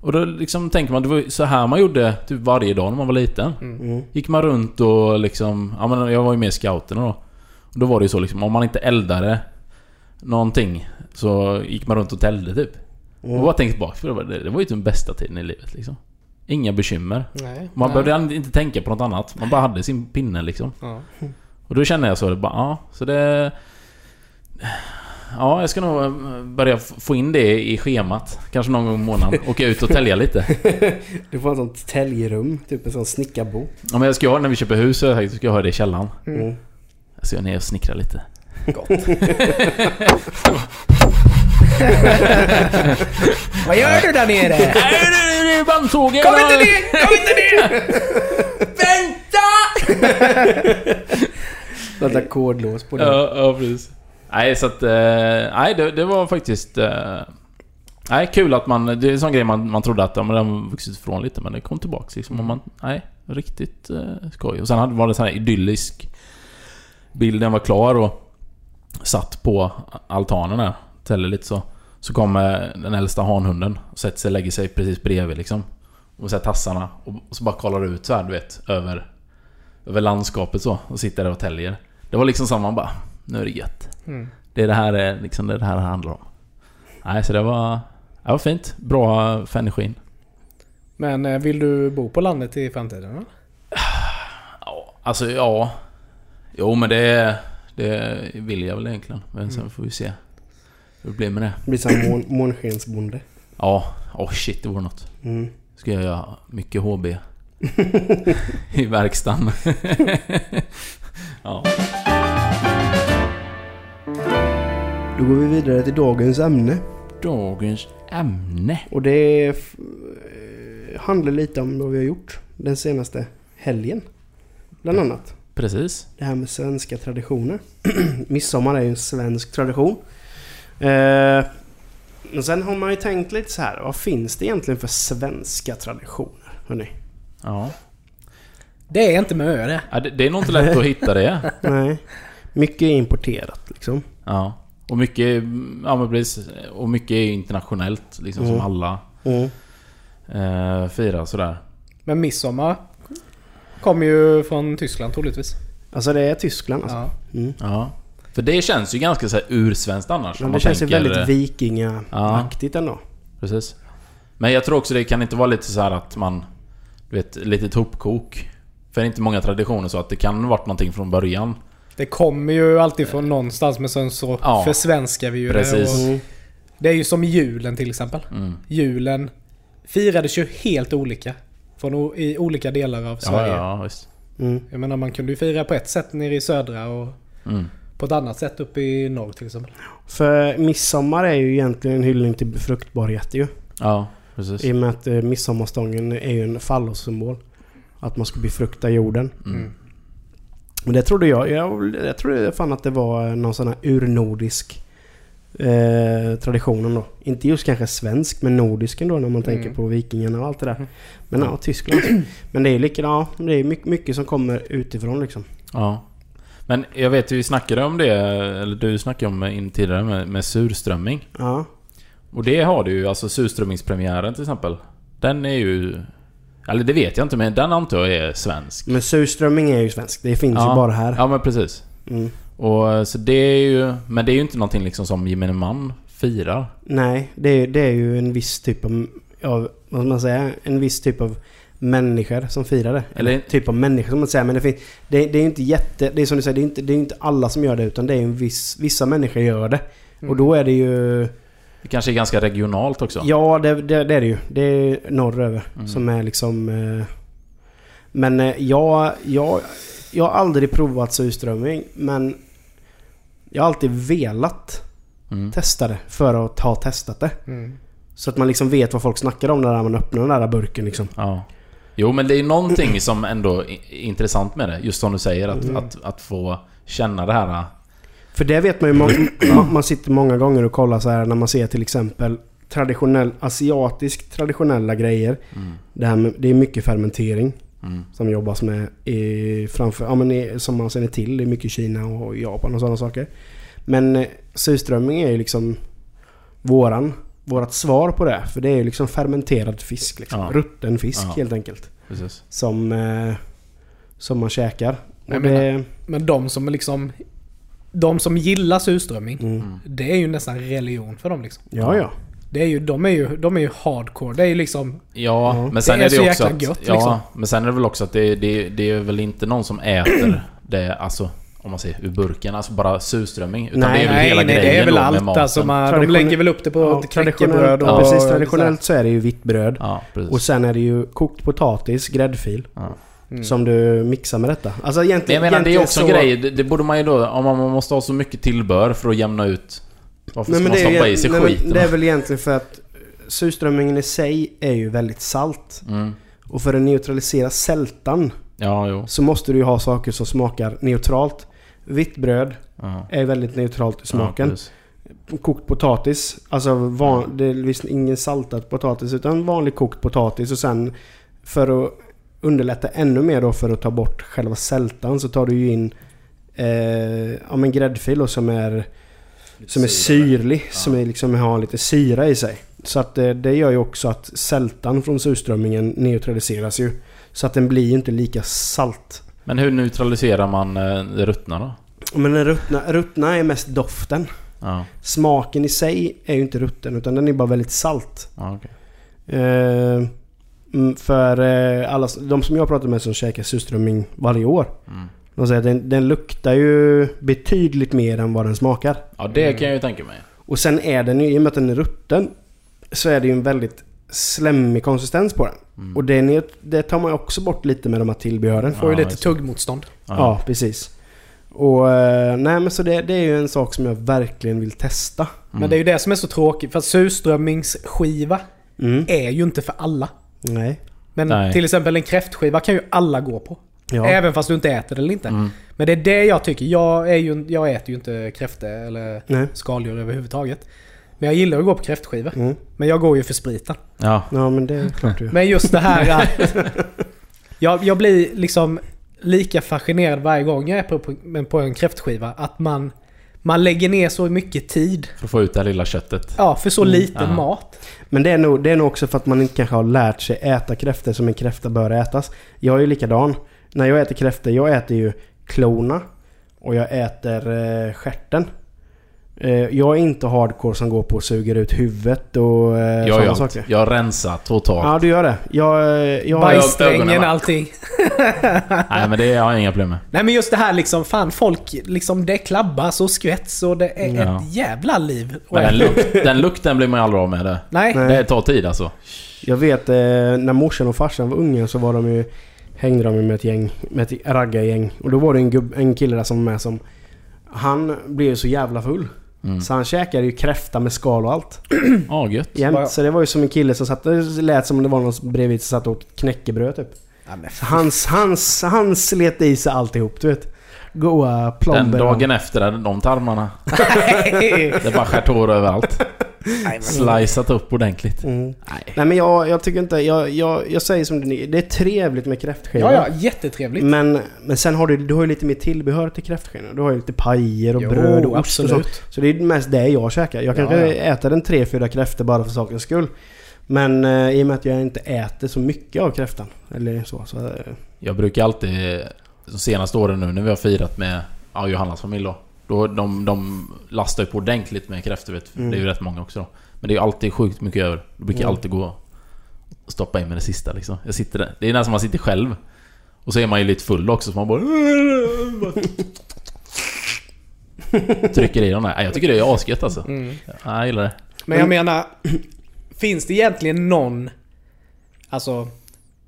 Och då liksom tänker man, det var ju så här man gjorde typ varje dag när man var liten.
Mm.
Gick man runt och liksom... Ja men jag var ju med i scouterna då. Och då var det ju så liksom, om man inte eldade någonting så gick man runt och täljde typ.
Mm.
Och bara tänkt bak för det var, det var ju typ den bästa tiden i livet liksom. Inga bekymmer.
Nej.
Man
nej.
behövde inte tänka på något annat. Man bara hade sin pinne liksom.
Ja.
Och då känner jag så, det bara, ja, så det... Ja, jag ska nog eh, börja f- få in det i schemat. Kanske någon gång i månaden. Åka ut och tälja lite.
Du får ett sånt täljrum, typ en sån snickarbo.
Ja, men jag ska ha när vi köper hus, så har jag tänkt, ska jag ha det i källaren.
Mm.
Jag ska ner och snickra lite.
Vad gör du där nere?
Nej, det- det- det är bandsågen!
Kom inte ner! Kom inte ner! Vänta!
Något ackordlås på det.
Ja, ja, precis. Nej, så att... eh, Nej, det, det var faktiskt... eh, Nej, kul att man... Det är en sån grej man, man trodde att ja, men den har vuxit ifrån lite, men det kom tillbaks liksom. Och man, nej, riktigt eh, skoj. Och sen hade- var det en sån här idyllisk... Bilden var klar och satt på altanen där. Täller lite så. Så kommer den äldsta hanhunden och sätter sig, lägger sig precis bredvid liksom. Och så här tassarna. Och och så bara kollar du ut så här, du vet. Över, över landskapet så. Och sitter där och täljer. Det var liksom samma bara. Nu är det gött.
Mm.
Det är det här eh, liksom, det, är det här det handlar om. Nej, så det var... Det var fint. Bra för energin.
Men eh, vill du bo på landet i framtiden? Va?
Ja, alltså ja. Jo men det, det vill jag väl egentligen. Men sen får vi se hur det blir med det.
Det blir såhär mån, månskensbonde.
Ja, åh shit det vore något.
Mm.
Ska jag göra mycket HB. I verkstaden. ja.
Då går vi vidare till dagens ämne.
Dagens ämne.
Och det är f- eh, handlar lite om vad vi har gjort den senaste helgen. Bland annat.
Precis.
Det här med svenska traditioner. Midsommar är ju en svensk tradition. Eh, men sen har man ju tänkt lite så här. Vad finns det egentligen för svenska traditioner? Hörrni?
Ja.
Det är inte med ö det.
Ja, Det, det är nog inte lätt att hitta det.
Nej. Mycket är importerat liksom.
Ja. Och mycket, ja men precis. Och mycket är internationellt liksom som
Mm.
alla
Mm.
eh, firar sådär.
Men midsommar kommer ju från Tyskland troligtvis.
Alltså det är Tyskland alltså.
Ja.
Mm.
Ja. För det känns ju ganska så här ursvenskt annars. om
Men det
man
känns ju
tänker-
väldigt vikingaaktigt ändå.
Precis. Men jag tror också det kan inte vara lite så här att man... Du vet, lite hopkok. För det är inte många traditioner så att det kan ha varit någonting från början.
Det kommer ju alltid från någonstans men sen så
Ja.
försvenskar vi ju
Precis.
det. Och
Mm.
det är ju som julen till exempel.
Mm.
Julen firades ju helt olika. Från o- I olika delar av
Ja,
Sverige.
ja, visst.
Mm.
Jag menar man kunde ju fira på ett sätt nere i södra och
Mm.
på ett annat sätt uppe i norr till exempel.
För midsommar är ju egentligen en hyllning till fruktbarhet ju.
Ja, precis.
I och med att eh, midsommarstången är ju en fallossymbol. Att man ska befrukta jorden.
Mm.
Men det trodde jag. Jag, jag trodde fan att det var eh, någon sån här urnordisk eh, tradition ändå. Inte just kanske svensk men nordisk ändå när man tänker
Mm.
på vikingarna och allt det där. Men ja, Tyskland. Men det är ju likadant. Ja, det är mycket, mycket som kommer utifrån liksom.
Ja. Men jag vet ju, vi snackade om det, eller du snackade om eh, in tidigare med, med surströmming.
Ja.
Och det har du ju, alltså surströmmingspremiären till exempel. Den är ju... Eller det vet jag inte men den antar jag är svensk.
Men surströmming är ju svensk. Det finns
Ja.
ju bara här.
Ja men precis.
Mm.
Och eh, så det är ju... Men det är ju inte någonting liksom som gemene man firar.
Nej, det är, det är ju en viss typ av, av... Vad ska man säga? En viss typ av människor som firar det.
Eller-
Eller en typ av människor som man säger. Men det, finns, det, det är ju inte jätte... Det är som du säger, det är inte, det är inte alla som gör det. Utan det är ju en viss... Vissa människor gör det. Och då är det ju...
Det kanske är ganska regionalt också.
Ja, det, det, det är det ju. Det är norröver
Mm.
som är liksom... Eh, men eh, jag, jag, jag har aldrig provat surströmming men jag har alltid velat
Mm.
testa det för att ha testat det.
Mm.
Så att man liksom vet vad folk snackar om när man öppnar den där burken liksom.
Ja. Jo, men det är någonting som ändå är intressant med det. Just som du säger, att, att, att få känna det här.
För det vet man ju, man, man, man sitter många gånger och kollar så här när man ser till exempel traditionell, asiatisk traditionella grejer. Det, här med, det är mycket fermentering
Mm.
som jobbas med i, framför, ja, men i, som man känner till. Det är mycket Kina och Japan och sådana saker. Men eh, surströmming är ju liksom våran, vårat svar på det. För det är ju liksom fermenterad fisk. Liksom.
Ja.
Rutten fisk
Ja.
helt enkelt.
Precis.
Som, eh, som man käkar.
Jag
Och det,
Men de som liksom... De som gillar surströmming.
Mm.
Det är ju nästan religion för dem liksom.
ja, ja.
Det är ju, de, är ju, de är ju hardcore. Det är ju liksom...
Ja,
Ja.
men sen
Det
det
är
är,
så
det också
jäkla
att,
gött,
ja,
liksom.
men sen är det väl också att det, det, det är väl inte någon som äter det, alltså om man säger ur burken, alltså bara surströmming. Utan
Nej,
det är väl hela grejen
det är väl
då med
allt
maten.
alltså. Man, de
Traditionell-
lägger väl upp det på
Ja,
ett knäckebröd
traditionellt,
och...
ja, precis,
och-
traditionellt så är det ju vitt bröd.
Ja, precis.
Och sen är det ju kokt potatis, gräddfil.
Ja.
Mm.
Som du mixar med detta. Alltså
Men
egentligen...
jag menar, det är
egentligen
också en grej. Det, det borde man ju då, om man man måste ha så mycket tillbehör för att jämna ut. Varför
Nej,
ska
men
man
det, är,
stoppa
ju-
i sig
nej, men
skiten?
det är väl egentligen för att surströmmingen i sig är ju väldigt salt.
Mm.
Och för att neutralisera sältan
Ja, jo.
så måste du ju ha saker som smakar neutralt. Vitt bröd
Ja.
är väldigt neutralt i
Ja,
smaken.
precis.
kokt potatis. Alltså van, det är visst ingen saltad potatis utan vanlig kokt potatis och sen för att underlätta ännu mer då för att ta bort själva sältan så tar du ju in eh, ja, men gräddfil då, som är som är syrlig. Som är liksom har lite syra i sig. Så att eh, det gör ju också att sältan från surströmmingen neutraliseras ju. Så att den blir ju inte lika salt.
Men hur neutraliserar man eh, det ruttna då?
Men den ruttna, ruttna är mest doften.
Ja,
Smaken i sig är ju inte rutten utan den är bara väldigt salt.
ja okej.
Eh, mm, för eh, alla, de som jag pratar med som käkar surströmming varje år.
Mm.
De säger att den, den luktar ju betydligt mer än vad den smakar.
Ja, det kan jag ju tänka mig.
Och sen är den ju, i och med att den är rutten, så är det ju en väldigt slemmig konsistens på den. Och det, är ned- det tar man ju också bort lite med de här tillbehören.
Får ju
Ja,
lite
just
tuggmotstånd.
Ja, precis. Och eh, nej men så det, det är ju en sak som jag verkligen vill testa.
Mm.
Men det är ju det som är så tråkigt. För surströmmingsskiva
Mm.
är ju inte för alla.
Nej.
Men
Nej.
till exempel en kräftskiva kan ju alla gå på.
Ja.
Även fast du inte äter det eller
Mm.
inte. Men det är det jag tycker. Jag, är ju, jag äter ju inte kräfte eller
Nej.
skaldjur överhuvudtaget. Men jag gillar att gå på kräftskiva.
Mm.
Men jag går ju för spriten.
Ja.
Ja men det är klart du gör.
Men just det här att... Jag, jag blir liksom lika fascinerad varje gång jag är på, på, på en kräftskiva. Att man, man lägger ner så mycket tid.
För att få ut det här lilla köttet.
Ja, för så
Mm,
lite
Ja.
mat.
Men det är, nog, det är nog också för att man inte kanske har lärt sig äta kräftor som en kräfta bör ätas. Jag är ju likadan. När jag äter kräftor, jag äter ju klona och jag äter eh, stjärten. Eh, jag är inte hardcore som går på och suger ut huvudet och eh,
Jag,
sådana
jag,
saker.
jag rensar totalt.
Ja, du gör det. Jag... eh, jag
Bajssträngen,
ögonen, va?
allting.
Nej, men det har jag inga problem med.
Nej men just det här liksom, fan folk, liksom det klabbas och skvätts och det är
Ja.
ett jävla liv.
Men den, luk, den lukten blir man ju aldrig av med. Det,
Nej.
Nej.
det tar tid alltså.
Jag vet eh, när morsan och farsan var unga så var de ju, hängde de ju med ett gäng, med ett raggargäng. Och då var det en, gubb, en kille där som var med som... Han blev ju så jävla full.
Mm.
Så han käkade ju kräfta med skal och allt.
Ja, gött.
Jämt. Så det var ju som en kille som satt... Det lät som om det var någon som bredvid som satt och åt knäckebröd typ.
Ja, men fan.
Hans, hans, han slet i sig alltihop du vet. Goa
Den
plomber.
dagen efter, hade de tarmarna. Det bara skärt hår överallt.
Nej, men-
Slicat upp ordentligt.
Mm.
Nej.
Nej men jag, jag tycker inte... Jag, jag, jag säger som det är. Det är trevligt med kräftskivor.
Ja, ja, jättetrevligt.
Men, men sen har du, du har ju lite mer tillbehör till kräftskivorna. Du har ju lite pajer och bröd och ost och sånt.
absolut.
Så det är ju mest det jag käkar. Jag kanske
Ja,
äter en 3-4 kräftor bara för sakens skull. Men eh, i och med att jag inte äter så mycket av kräftan. Eller så. så eh,
Jag brukar alltid, de senaste åren nu när vi har firat med ja, Johannas familj då. då de, de lastar ju på ordentligt med kräftor vet du. Det är ju rätt många också då. Men det är ju alltid sjukt mycket över. Då brukar jag alltid gå och stoppa in med det sista liksom. Jag sitter där. Det är nästan man sitter själv. Och så är man ju lite full också så man bara... Trycker i dem där. Nej, Jag tycker det är asgött alltså. Ja, jag gillar det.
Men jag menar, finns det egentligen någon, alltså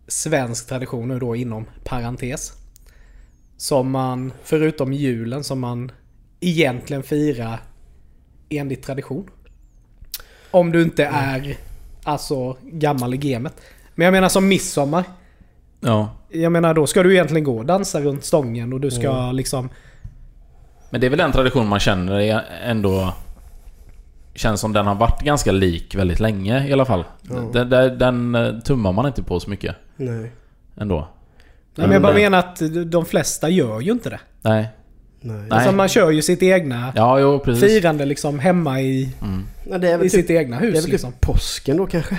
svensk tradition nu då inom parentes, som man, förutom julen, som man egentligen firar enligt tradition? Om du inte är, alltså, gammal i gamet. Men jag menar som midsommar.
Ja.
Jag menar då ska du egentligen gå och dansa runt stången och du ska liksom...
Men det är väl den tradition man känner är ändå... Känns som den har varit ganska lik väldigt länge i alla fall. Den, den, den eh, tummar man inte på så mycket
nej.
ändå.
Nej, men jag bara menar att de flesta gör ju inte det.
Nej.
Nej.
Nej.
Alltså man kör ju sitt egna
Ja, jo precis.
firande liksom hemma i,
Nej, det är
i
väl typ,
sitt egna
det är
hus
väl
liksom.
typ påsken då kanske.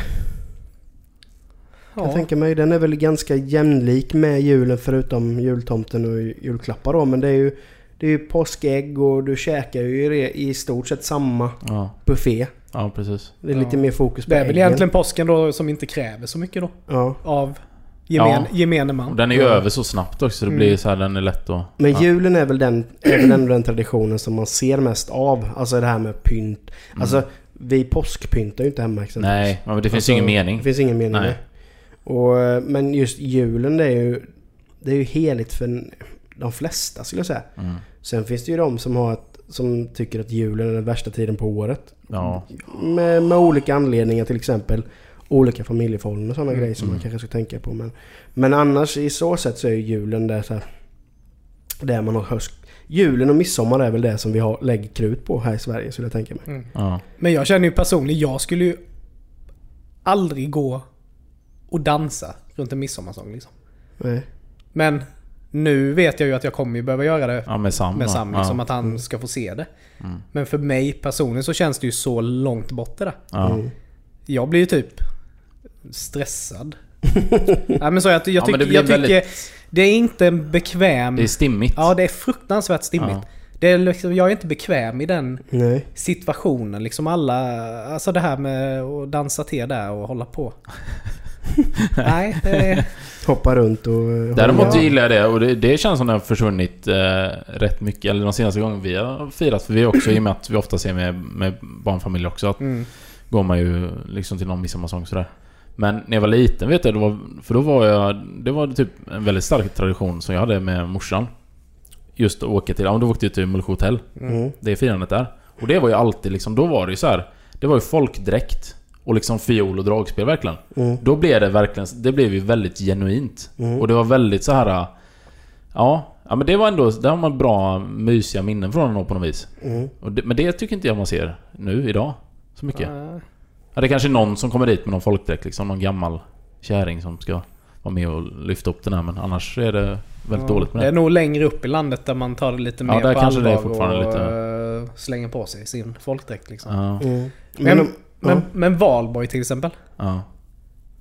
Jag
Ja.
tänker mig. Den är väl ganska jämlik med julen förutom jultomten och julklappar då. Men det är ju, det är ju påskägg och du käkar ju i re- i stort sett samma
Ja,
buffé.
ja precis.
Det är lite mer fokus på
Det är väl
äggen.
egentligen påsken då som inte kräver så mycket då.
Ja.
Av gemen,
Ja.
gemene
Och
man.
den är ju över så snabbt också så det blir ju så här, den är lätt att...
Men
ja.
julen är väl, den, är väl ändå den traditionen som man ser mest av. Alltså det här med pynt.
Mm.
Alltså vi påskpyntar ju inte hemma exempelvis.
Nej, men det finns ju
Alltså,
ingen mening.
Det finns ingen mening
Nej.
med. Och, eh, Men just julen det är ju, det är ju heligt för en- de flesta skulle jag säga.
Mm.
Sen finns det ju de som, har ett, som tycker att julen är den värsta tiden på året.
Ja.
Med, med olika anledningar till exempel. Olika familjeförhållanden och sådana grejer som man kanske ska tänka på. Men, men annars i så sätt så är ju julen där, så här, där man har höst. Julen och midsommar är väl det som vi har, lägger krut på här i Sverige skulle jag tänka mig.
Ja.
Men jag känner ju personligen, jag skulle ju aldrig gå och dansa runt en midsommarsång liksom.
Nej.
Men nu vet jag ju att jag kommer ju behöva göra det
ja, med Sam.
med
då.
Sam.
ja.
Liksom att han ska få se det. Men för mig personligen så känns det ju så långt bort det där.
Ja.
Mm.
Jag blir ju typ stressad. Nej men så jag, jag,
Ja, men
tycker,
det blir
jag tycker
väldigt-
det är inte en bekväm...
Det är stimmigt.
ja det är fruktansvärt stimmigt.
Ja.
Det är liksom, jag är inte bekväm i den
Nej.
situationen liksom alla... Alltså det här med att dansa till där och hålla på. Nej, det är...
Hoppa runt och... eh,
Däremot
hålla-
gillar jag det och det, det känns som det har försvunnit eh, rätt mycket. Eller de senaste gångerna vi har firat. För vi också, i och med att vi ofta ser med, med barnfamiljer också. Att
Mm.
går man ju liksom till någon midsommarsång sådär. Men när jag var liten vet jag, det var, för då var jag... Det var typ en väldigt stark tradition som jag hade med morsan. Just att åka till... Ja, men då åkte jag till Mullsjö hotell.
Mm.
Det firandet där. Och det var ju alltid liksom... Då var det ju så här. Det var ju folkdräkt. Och liksom fiol och dragspel verkligen.
Mm.
Då blev det verkligen... Det blev ju väldigt genuint. Och det var väldigt så här... Ja, ja men det var ändå... Där har man bra mysiga minnen från den på något vis.
Mm.
Och det, men det tycker inte jag man ser nu idag. Så mycket.
Ja.
Ja, det är kanske är någon som kommer dit med någon folkdräkt liksom. Någon gammal kärring som ska vara med och lyfta upp den här. Men annars är det väldigt dåligt med
Det är
det.
nog längre upp i landet där man tar det lite
Ja,
mer
där
på
kanske det är
allvar
fortfarande
och
lite-
eh, slänger på sig sin folkdräkt liksom.
Ja,
Mm.
Men,
Men,
men, men,
ja.
valborg till exempel.
ja,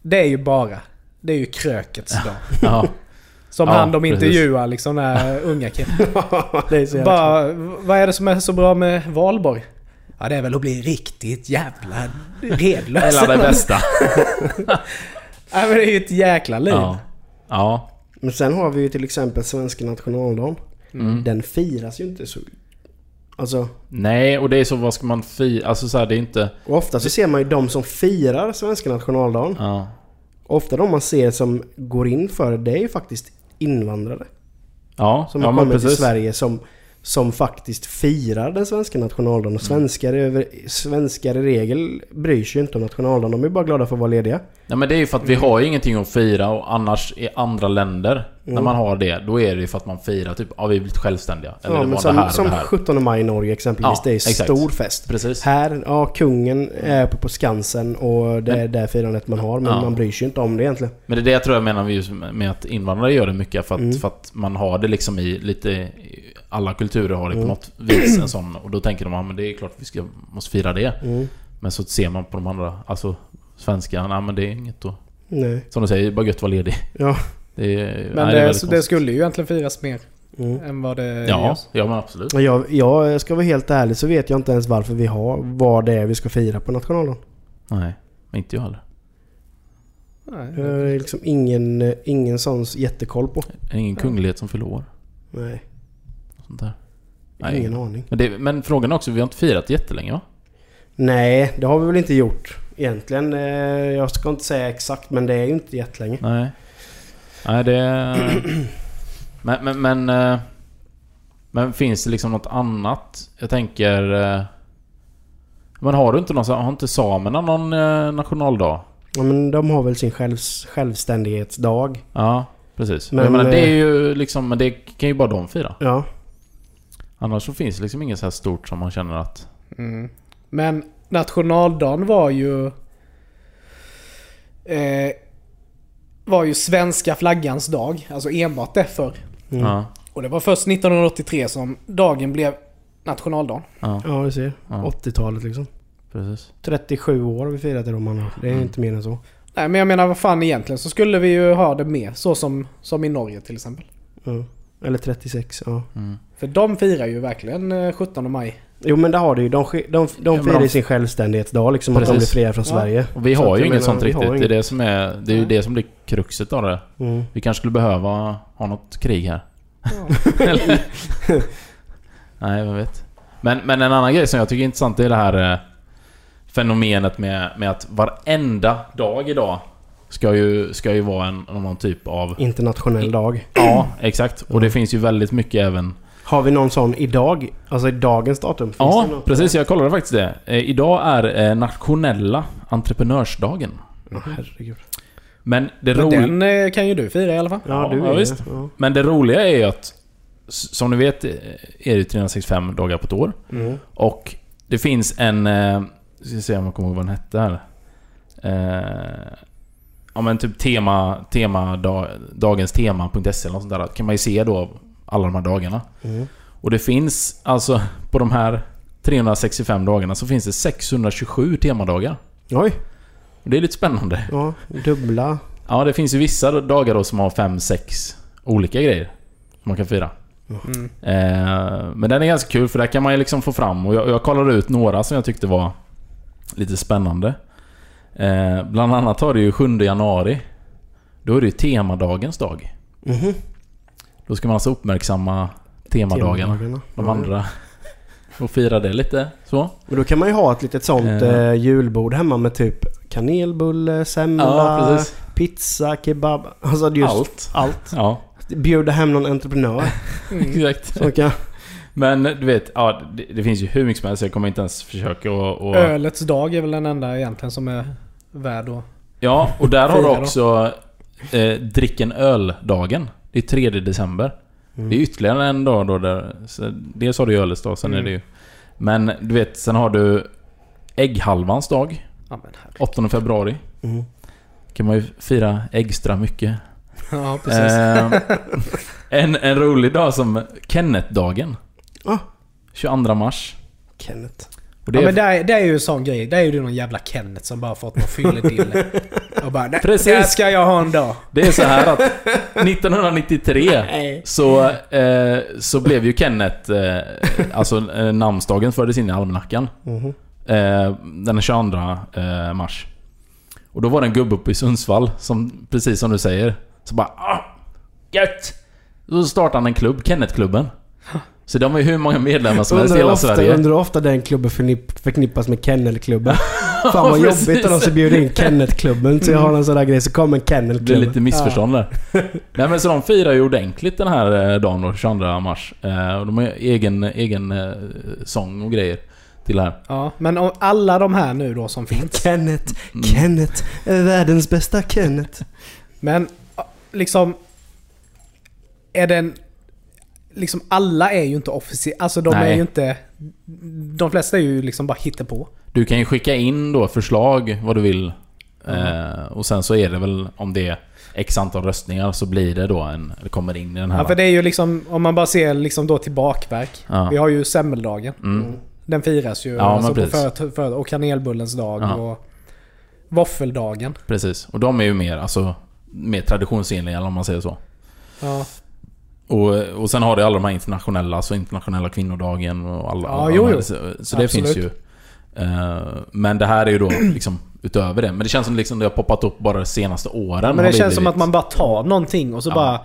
Det är ju bara... Det är ju krökets dag.
ja.
Som
Ja,
han de
precis.
intervjuar liksom den här unga killen.
det är så jävla
Bara, vad är det som är så bra med valborg? Ja det är väl att bli riktigt jävla redlös.
Eller det bästa.
Nej men det är ju ett jäkla liv.
Ja. Ja.
Men sen har vi ju till exempel svenska nationaldagen.
Mm.
Den firas ju inte så... Alltså,
Nej, och det är så vad ska man fira? Alltså så här, det är inte...
och ofta så ser man ju de som firar svenska nationaldagen.
Ja.
Ofta de man ser som går in för det, det är ju faktiskt invandrare.
Ja,
Som
ja
har
men
kommit till
precis.
Sverige som, som faktiskt firar den svenska nationaldagen. Och
Mm.
svenskar, över, svenskar i regel bryr sig ju inte om nationaldagen. De är bara glada för att vara lediga.
Nej men det är ju för att vi har ju ingenting att fira och annars i andra länder, när man har det, då är det ju för att man firar typ, ja vi har blivit självständiga. Eller
Ja,
det
men
var det här
som,
och
som
det här.
17 maj i Norge exempelvis.
Ja,
det är
exakt.
stor fest.
Precis. Mm.
Här, ja kungen är uppe på Skansen och det är det firandet man har. Men
Ja.
man bryr sig ju inte om det egentligen.
Men det är det jag tror jag menar med just med att invandrare gör det mycket för att,
Mm.
för att man har det liksom i lite... i- Alla kulturer har det
Mm.
på något vis en sån och då tänker de att men det är klart vi ska, måste fira det.
Mm.
Men så ser man på de andra, alltså svenska, nej men det är inget då.
Nej.
Som du säger, det är bara gött att vara ledig.
Ja.
Det är,
Men
nej,
det,
väldigt
så det
konstigt.
skulle ju egentligen firas mer
Mm.
än vad det
Ja,
görs.
ja men absolut.
Och Jag, jag ska vara helt ärlig så vet jag inte ens varför vi har vad det är vi ska fira på nationaldagen.
Nej, inte jag heller.
Jag
Nej.
har liksom ingen, ingen sån jättekoll på.
Det är ingen kunglighet som fyller år.
Nej,
och Sånt där. Nej.
ingen aning.
Men, det, men frågan är också, vi har inte firat jättelänge va?
Nej, det har vi väl inte gjort egentligen. eh, Jag ska inte säga exakt men det är ju inte jättelänge.
Nej. Nej, det... Men, men, men... eh, Men finns det liksom något annat? Jag tänker... eh, Men har du inte någon... så- Har inte samerna någon eh, nationaldag?
Ja, men de har väl sin självs, självständighetsdag.
Ja, precis. Men,
Men,
jag menar, det
eh,
är ju liksom... Men det kan ju bara de fira.
Ja.
Annars så finns det liksom inget så här stort som man känner att...
Mm. Men nationaldagen var ju... Eh, var ju svenska flaggans dag. Alltså enbart det förr.
mm.
Ja,
Och det var först 1983 som dagen blev nationaldagen.
ja,
Ja, du ser.
Ja.
80-talet liksom.
precis.
37 år har vi firat det då man har.
Mm.
Det är inte mer än så.
Nej men jag menar vad fan egentligen så skulle vi ju ha det med. Så som, som i Norge till exempel.
Ja. Eller 36, ja.
För de firar ju verkligen eh, 17 maj.
Jo men det har du ju. De, sk- de, de
men
firar
de-
ju sin självständighetsdag liksom. Att de blir
Precis.
fria från Sverige.
Och vi
Så
har
att
ju
jag
inget
menar,
sånt
vi har
riktigt. Det är
inget.
det som är... Det är ju det som blir kruxet av det.
Mm.
Vi kanske skulle behöva ha något krig här. Eller? Nej, vem vet. Men, men en annan grej som jag tycker är intressant är det här eh, fenomenet med, med att varenda dag idag ska ju, ska ju vara en, någon typ av...
Internationell dag.
Ja, exakt. Och det finns ju väldigt mycket även...
Har vi någon sån idag? Alltså i dagens datum? Finns
Ja,
det något?
precis. Jag kollade faktiskt det. Eh, idag är eh, nationella entreprenörsdagen.
Ja, herregud.
Men det
Men
roliga...
den eh, kan ju du fira i alla fall.
Ja,
Ja,
du
ja,
är det.
visst.
Ja.
Men det roliga är ju att s- som ni vet eh, är det 365 dagar på ett år.
Mm.
Och det finns en... eh, Ska se om jag kommer ihåg vad den hette här. Eh, Ja men typ tema, tema dag, dagenstema.se eller något sånt där. Kan man ju se då alla de här dagarna. Och det finns alltså på de här 365 dagarna så finns det 627 temadagar.
Oj.
Det är lite spännande.
Ja, dubbla.
Ja, det finns ju vissa dagar då som har fem, sex olika grejer som man kan fira.
Mm.
Eh, men den är ganska kul för där kan man ju liksom få fram och jag, jag kollade ut några som jag tyckte var lite spännande. Eh, bland annat har det ju 7 januari. Då är det ju temadagens dag.
Mhm.
Då ska man alltså uppmärksamma temadagarna.
Temadagarna.
De
Ja.
andra. Och fira det lite så.
Men då kan man ju ha ett litet sånt
Eh.
eh, julbord hemma med typ kanelbulle,
Ja,
semla,
precis.
pizza, kebab. Alltså Mm. just allt.
Allt. Ja,
Bjuda hem någon entreprenör
Mm.
exakt.
som kan...
Men du vet, ja, det, det finns ju hur mycket som helst. Jag kommer inte ens försöka och, och
Ölets dag är väl den enda egentligen som är värd att...
Ja, och där har du
Fira då.
också eh, drick en öl-dagen. Det är 3 december. Det
Mm.
är ytterligare en dag då där... Så dels har du ju ölets dag, sen är
Mm.
det ju... Men du vet, sen har du ägghalvans dag.
Ja, men herregud.
8 februari.
Mm.
kan man ju fira extra mycket.
ja precis.
Eh, en, en rolig dag som Kenneth-dagen.
Ah.
22 mars.
Kenneth.
Och det
ja,
är
men det är, det är ju en sån grej. Det är ju det någon jävla Kenneth som bara fått någon fylledille. Och bara nej,
Precis.
där ska jag ha en dag.
Det är så här att 1993 så, eh, så blev ju Kenneth, eh, alltså eh, namnsdagen fördes in i almanackan.
Mhm.
Eh, den 22 eh, mars. Och då var det en gubbe uppe i Sundsvall som, precis som du säger, så bara ah, Gött! Då startade han en klubb, Kennethklubben. Så de har ju hur många medlemmar som helst i
Undrar
hela
ofta,
Sverige.
undrar ofta den klubben förnipp- förknippas med kennelklubben. Fan vad
precis.
jobbigt om de ska bjuda in kennelklubben. Så jag har en sån där grej så kommer
Det blir
kennelklubben.
lite missförstånd där. Nej men så de firar ju ordentligt den här eh, dagen då, 22 mars. Eh, och de har ju egen, egen eh, sång och grejer till det här.
Ja, men om alla de här nu då som finns.
Kenneth,
Mm.
Kenneth, världens bästa Kenneth.
Men liksom... Är den... Liksom alla är ju inte officiella. Alltså de
Nej.
är ju inte... De flesta är ju liksom bara hittepå.
Du kan ju skicka in då förslag vad du vill. Eh, och sen så är det väl om det är X antal röstningar så blir det då en... Det kommer in i den här.
Ja, för det är ju liksom, om man bara ser liksom då till bakverk.
Ja.
Vi har ju semmeldagen.
Mm.
Den firas ju.
Ja, men
alltså på
precis.
för, för, och kanelbullens dag
Ja.
och våffeldagen.
Precis. Och de är ju mer, alltså, mer traditionsenliga om man säger så.
Ja,
Och, och sen har du alla de här internationella, alltså internationella kvinnodagen och alla...
Ja,
alla
jo,
de här.
jo.
Så, så det
Absolut.
finns ju. Eh, men det här är ju då liksom utöver det. Men det känns som liksom det har poppat upp bara de senaste åren.
men
har
det känns som
blivit.
att man bara tar någonting och så
Ja.
bara...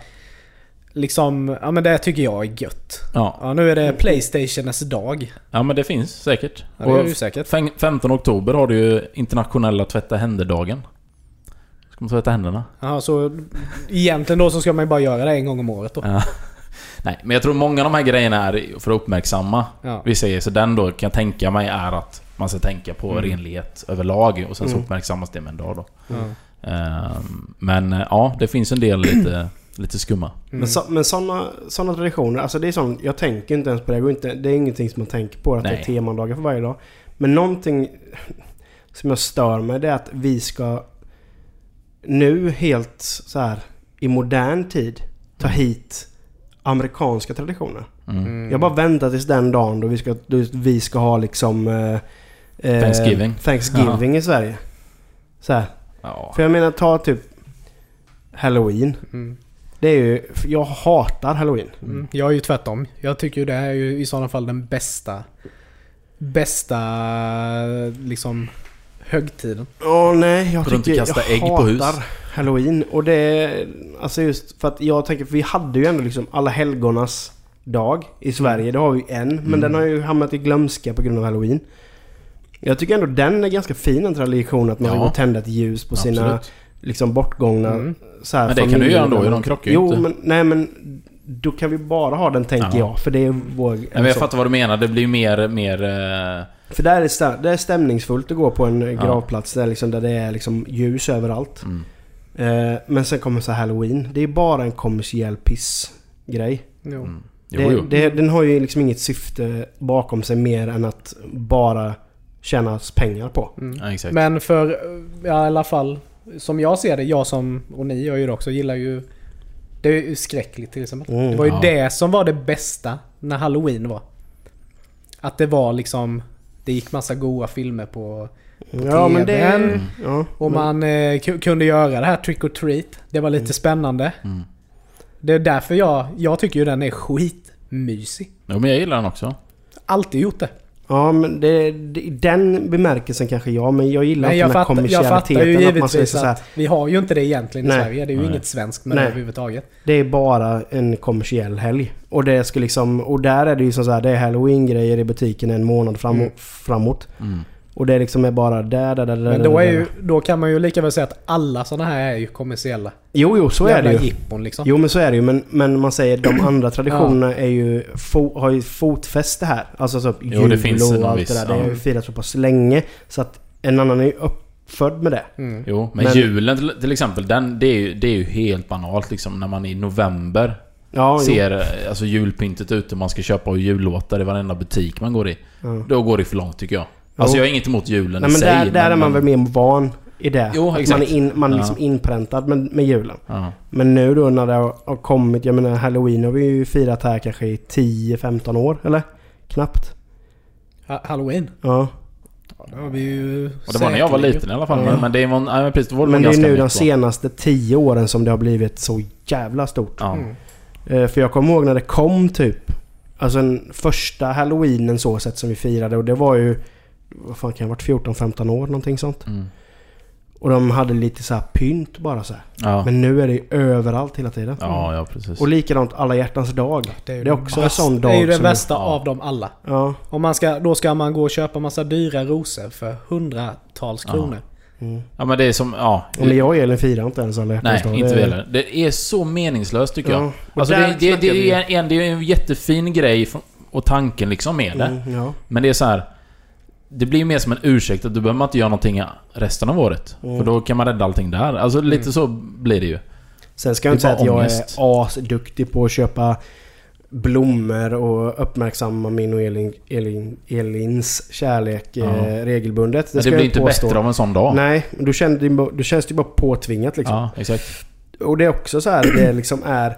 Liksom, ja men det tycker jag är gött.
Ja.
Ja, nu är det
Mm.
Playstationens dag.
ja, men det finns säkert.
Ja, det är
Och
ju säkert.
Fem- 15 oktober har du ju internationella tvätta händer-dagen. Ska man tvätta händerna?
Ja, så egentligen då så ska man ju bara göra det en gång om året då.
Ja. Nej, men jag tror många av de här grejerna är för att uppmärksamma
Ja.
vissa grejer. Så den då kan jag tänka mig är att man ska tänka på renlighet överlag och sen så uppmärksammas det med en dag då.
Ja.
Ehm, men eh, ja, det finns en del lite, lite skumma.
Men, så, men sådana såna traditioner, alltså det är sånt, jag tänker inte ens på det. Det, går inte, det är ingenting som man tänker på, att det
Nej.
är temadagar för varje dag. Men någonting som jag stör mig det är att vi ska nu helt så här i modern tid ta hit amerikanska traditioner.
Mm.
Jag bara väntar tills den dagen då vi ska, då vi ska ha liksom... eh, eh,
Thanksgiving.
Thanksgiving i Sverige. Så här.
Ja.
För jag menar ta typ Halloween.
Mm.
Det är ju, för jag hatar halloween.
Mm. Jag är ju tvärtom. Jag tycker ju det här är ju i sådana fall den bästa... Bästa liksom högtiden.
Åh nej, jag
Går runt och
tycker
kastar
jag
ägg på
hatar
hus.
halloween. Och det är, alltså just för att jag tänker, för vi hade ju ändå liksom alla helgonas dag i Sverige. Det har vi ju en,
Mm.
men den har ju hamnat i glömska på grund av halloween. Jag tycker ändå den är ganska fin, en tradition att man
Ja.
ja. går och tända ett ljus på sina
Absolut.
liksom bortgångna
Mm.
så här,
Men det kan du
familjer-
göra ändå, de krockar ju
jo,
inte.
Men, nej men då kan vi bara ha den tänker
Ja.
jag, för det är vår...
Nej, men jag
så.
fattar vad du menar. Det blir ju mer... mer eh,
För där är, det stä- där är stämningsfullt att gå på en eh,
Ja.
gravplats där, liksom, där det är liksom ljus överallt.
mm.
Eh, men sen kommer så här halloween. Det är bara en kommersiell pissgrej.
Jo.
Mm. Jo,
Det,
jo.
det, den har ju liksom inget syfte bakom sig mer än att bara tjänas pengar på.
Mm.
Ja, exakt.
Men för, ja, i alla fall, som jag ser det, jag som, och ni gör ju det också, gillar ju... Det är ju skräckligt till exempel.
Mm.
Det var ju
Ja.
det som var det bästa när halloween var. Att det var liksom... Det gick massa goa filmer på
Ja men det...
Mm.
TVn.
Ja,
Och
men-
man eh, ku- kunde göra det här trick or treat. Det var lite spännande.
Mm.
Det är därför jag, jag tycker ju den är skitmysig.
Jo, men jag gillar den också.
Alltid gjort det.
Ja, men det, det, i den bemärkelsen kanske ja, men jag gillar
Men
inte
jag,
den här
fatt, jag fattar ju
kommersialiteten. att man säger
givetvis
så här,
att vi har ju inte det egentligen i
Nej.
Sverige. Det är ju
Nej.
inget svenskt med
Nej.
överhuvudtaget.
det är bara en kommersiell helg. Och det ska liksom, och där är det ju som så här, det är halloween-grejer i butiken en månad fram, framåt.
Mm.
Och det liksom är bara där, där, där, där.
Men
där,
då, är
där,
ju,
där.
då kan man ju lika väl säga att alla sådana här är ju kommersiella.
Jo, jo, så är
Jävla
det ju.
jippon liksom.
Jo men så är det ju men, men man säger de andra traditionerna är ju, fo, har ju fotfäste här. Alltså så jul
Jo, det finns
och
någon
allt
viss,
det där. Det har ju
ja.
firats så pass länge. Så att en annan är ju uppfödd med det.
Mm.
Jo, men,
Men-
julen till, till exempel, den, det, är ju, det är ju helt banalt liksom när man i november
Ja, jo.
ser eh, alltså, julpyntet ute, man ska köpa och jullåtar i varenda butik man går i.
Ja.
Då går det för långt tycker jag. Alltså
Jo.
jag är inget emot julen
Nej,
i
men
sig.
där, där är man väl mer van i det.
Jo,
att man
exakt.
är, in, man är
Ja.
liksom inpräntad med, med julen.
Ja.
Men nu då när det har har kommit, jag menar halloween har vi ju firat här kanske i 10-15 år eller? Knappt.
Ha- Halloween.
Ja.
Ja, det har vi ju
Och det var när jag var
säkerligen.
liten i alla fall.
Ja.
Men, men det var, nej, men precis, då var
Men det är
ganska
nu de
nytt, va?
senaste 10 åren som det har blivit så jävla stort.
Ja.
Mm.
Eh, För jag kommer ihåg när det kom typ. Alltså den första halloweenen så sett som vi firade och det var ju... Vad fan kan jag ha varit? 14-15 år någonting sånt.
Mm.
Och de hade lite så här pynt bara så här.
Ja.
Men nu är det ju överallt hela tiden.
ja, ja precis.
Och likadant alla hjärtans dag. Det är,
ju
också
den
en
bästa-
sån dag
Det är ju den
som-
bästa
ja.
av dem alla.
Mm.
Ja.
Om man ska, då ska man gå och köpa massa dyra rosor för hundratals kronor.
Mm.
Ja men det är som, ja.
Och när jag och Elin firar inte ens alla hjärtans
Nej,
dag. Det
inte
är-
vi heller. Det är så meningslöst tycker
Ja.
jag.
Och
Alltså,
där
det, det,
snackar vi.
det, är en, det är en jättefin grej från- och tanken liksom med det.
Mm, ja.
Men det är så här. Det blir ju mer som en ursäkt att du behöver inte göra någonting resten av året. För då kan man rädda allting där. Alltså lite så blir det ju.
Sen ska jag
Det
inte säga
är bara
att jag är
ångest.
asduktig på att köpa blommor och uppmärksamma min och Elin, Elin, Elins kärlek eh, regelbundet.
Det, men
ska
det
jag
blir inte
påstå.
bättre av en sån dag.
Nej, men du känner, dig bara- du känns ju bara påtvingat liksom.
Ja, exakt.
Och det är också så här, det liksom är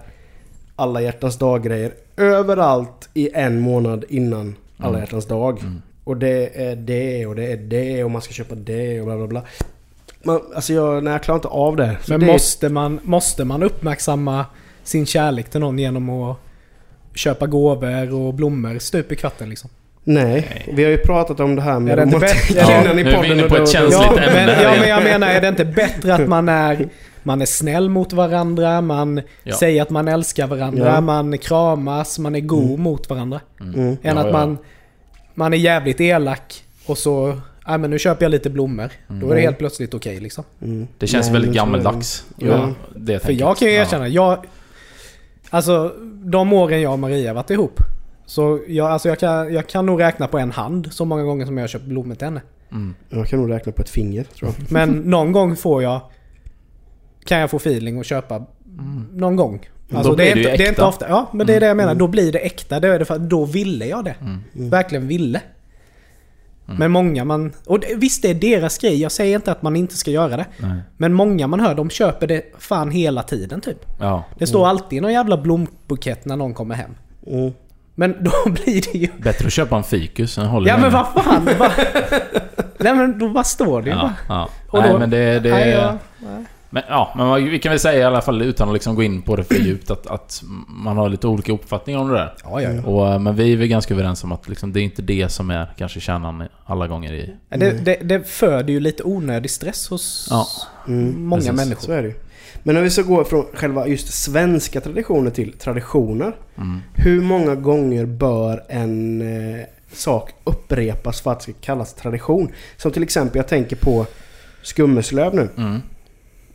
alla hjärtans dag-grejer överallt i en månad innan
Mm.
alla hjärtans dag. Och det är det och det är det och man ska köpa det och bla bla bla. Man, alltså jag, nej, jag klarar inte av det. Så
Men
det är-
måste, man, måste man uppmärksamma sin kärlek till någon genom att köpa gåvor och blommor stup i kvarten liksom?
Nej, vi har ju pratat om det här
Är
med
det inte
romantiken
bättre? Ja,
innan i
nu är vi
podden
inne
och
på
då-
ett
då-
känsligt
Ja,
lite ämne
men,
här
ja,
igen.
men jag menar är det inte bättre att man är, man är snäll mot varandra, man
Ja.
säger att man älskar varandra,
Ja.
man kramas, man är god mot varandra.
Mm.
Än
Ja,
att
ja.
man, man är jävligt elak och så, nej men nu köper jag lite blommor. Då är det helt plötsligt okej liksom.
Mm.
Det känns
Nej,
väldigt
men så är det.
gammeldags.
Ja.
Ja, det
För jag kan ju erkänna, jag... Alltså, de åren jag och Maria har varit ihop. Så jag, alltså jag, kan, jag kan nog räkna på en hand så många gånger som jag har köpt blommor till henne.
Jag kan nog räkna på ett finger tror jag.
Men någon gång får jag... Kan jag få feeling och köpa någon gång. Alltså,
Mm. då
det, är
blir det ju
inte, det är inte
äkta. Mm.
ofta. Ja, men det är det jag menar. Då blir det äkta. Då, är det för, då ville jag det. Verkligen ville.
Mm.
Men många man... Och det, visst, det är deras grej. Jag säger inte att man inte ska göra det.
Nej.
Men många man hör, de köper det fan hela tiden typ.
Ja.
Det står alltid någon jävla blombukett när någon kommer hem.
Mm.
Men då blir det ju...
Bättre att köpa en fikus än håller
Ja men vad fan! Bara... Nej men då bara står det ju
Ja,
bara.
ja.
Och
Nej
då-
men det... det
Nej, ja.
Men, ja, men vad- vi kan väl säga i alla fall utan att liksom gå in på det för djupt att, att man har lite olika uppfattningar om det där.
Ja, ja, ja.
Och, eh, men vi är väl ganska överens om att liksom, det är inte det som är kanske kärnan alla gånger i...
Det, det, det föder ju lite onödig stress hos
Mm. Ja.
många
precis.
människor.
Så är det ju. Men om vi ska gå från själva just svenska traditioner till traditioner.
Mm.
Hur många gånger bör en eh, sak upprepas för att det ska kallas tradition? Som till exempel, jag tänker på Skummeslöv nu.
Mm.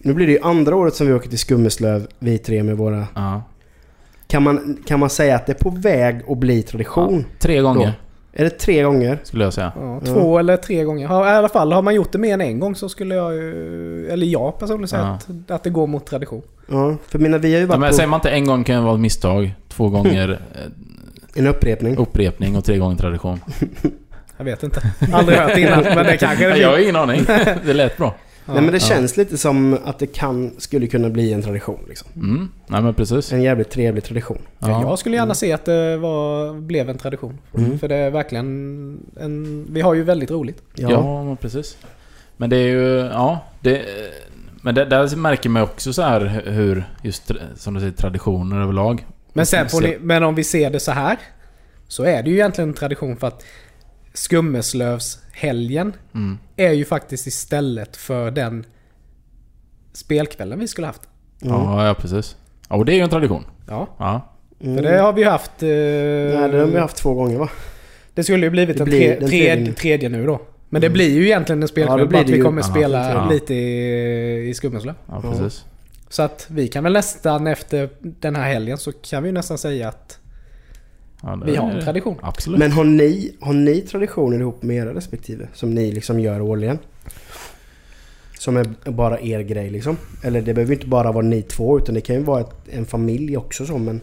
Nu blir det ju andra året som vi åker till Skummeslöv, vi tre med våra...
Ja.
Kan man, kan man säga att det är på väg att bli tradition?
Tre gånger
Då. Är det tre gånger?
skulle jag säga.
Ja, två eller tre gånger. Har, I alla fall har man gjort det mer än en gång så skulle jag ju... Eller jag personligen säga
Ja.
att, att det går mot tradition.
Ja, för mina, vi har ju
Ja, men
varit
säger
på
man inte en gång kan det vara ett misstag. Två gånger eh,
en upprepning.
Oh. upprepning och tre gånger tradition.
Jag vet inte. Aldrig hört innan men det kanske det
Nej, jag har
blir.
ingen aning. Det lät bra.
Nej men det känns lite som att det kan, skulle kunna bli en tradition liksom.
Mm. Nej men precis.
En jävligt trevlig tradition.
Ja.
Ja.
Jag skulle gärna se att det var, blev
Mm.
en tradition. För det är verkligen en... Vi har ju väldigt roligt.
Ja, men precis. Men det är ju, ja. Det, men det, där märker man också så här hur, just som du säger, traditioner överlag.
Men, sen får ni, men om vi ser det så här. Så är det ju egentligen en tradition för att Skummeslövshelgen
Mm.
är ju faktiskt istället för den spelkvällen vi skulle haft.
Ja, ja, precis. Ja, och det är ju en tradition.
Ja,
Ja.
för det har vi ju haft... eh,
Nej, Mm. det har vi haft två gånger va?
Det skulle ju blivit
Det
en
blir
tre,
den
tredje.
tredje. Mm.
tredje nu då. Men det blir ju egentligen en spelkväll,
Ja, det blir
bara att
det
vi
ju.
kommer
Ja,
spela
ja.
lite i, i Skummeslöv.
Ja, precis.
Så att vi kan väl nästan efter den här helgen så kan vi ju nästan säga att
Ja, det-
vi har en tradition.
Absolut.
Men har ni, har ni traditioner ihop med era respektive? Som ni liksom gör årligen? Som är bara er grej liksom? Eller det behöver ju inte bara vara ni två utan det kan ju vara ett, en familj också så men...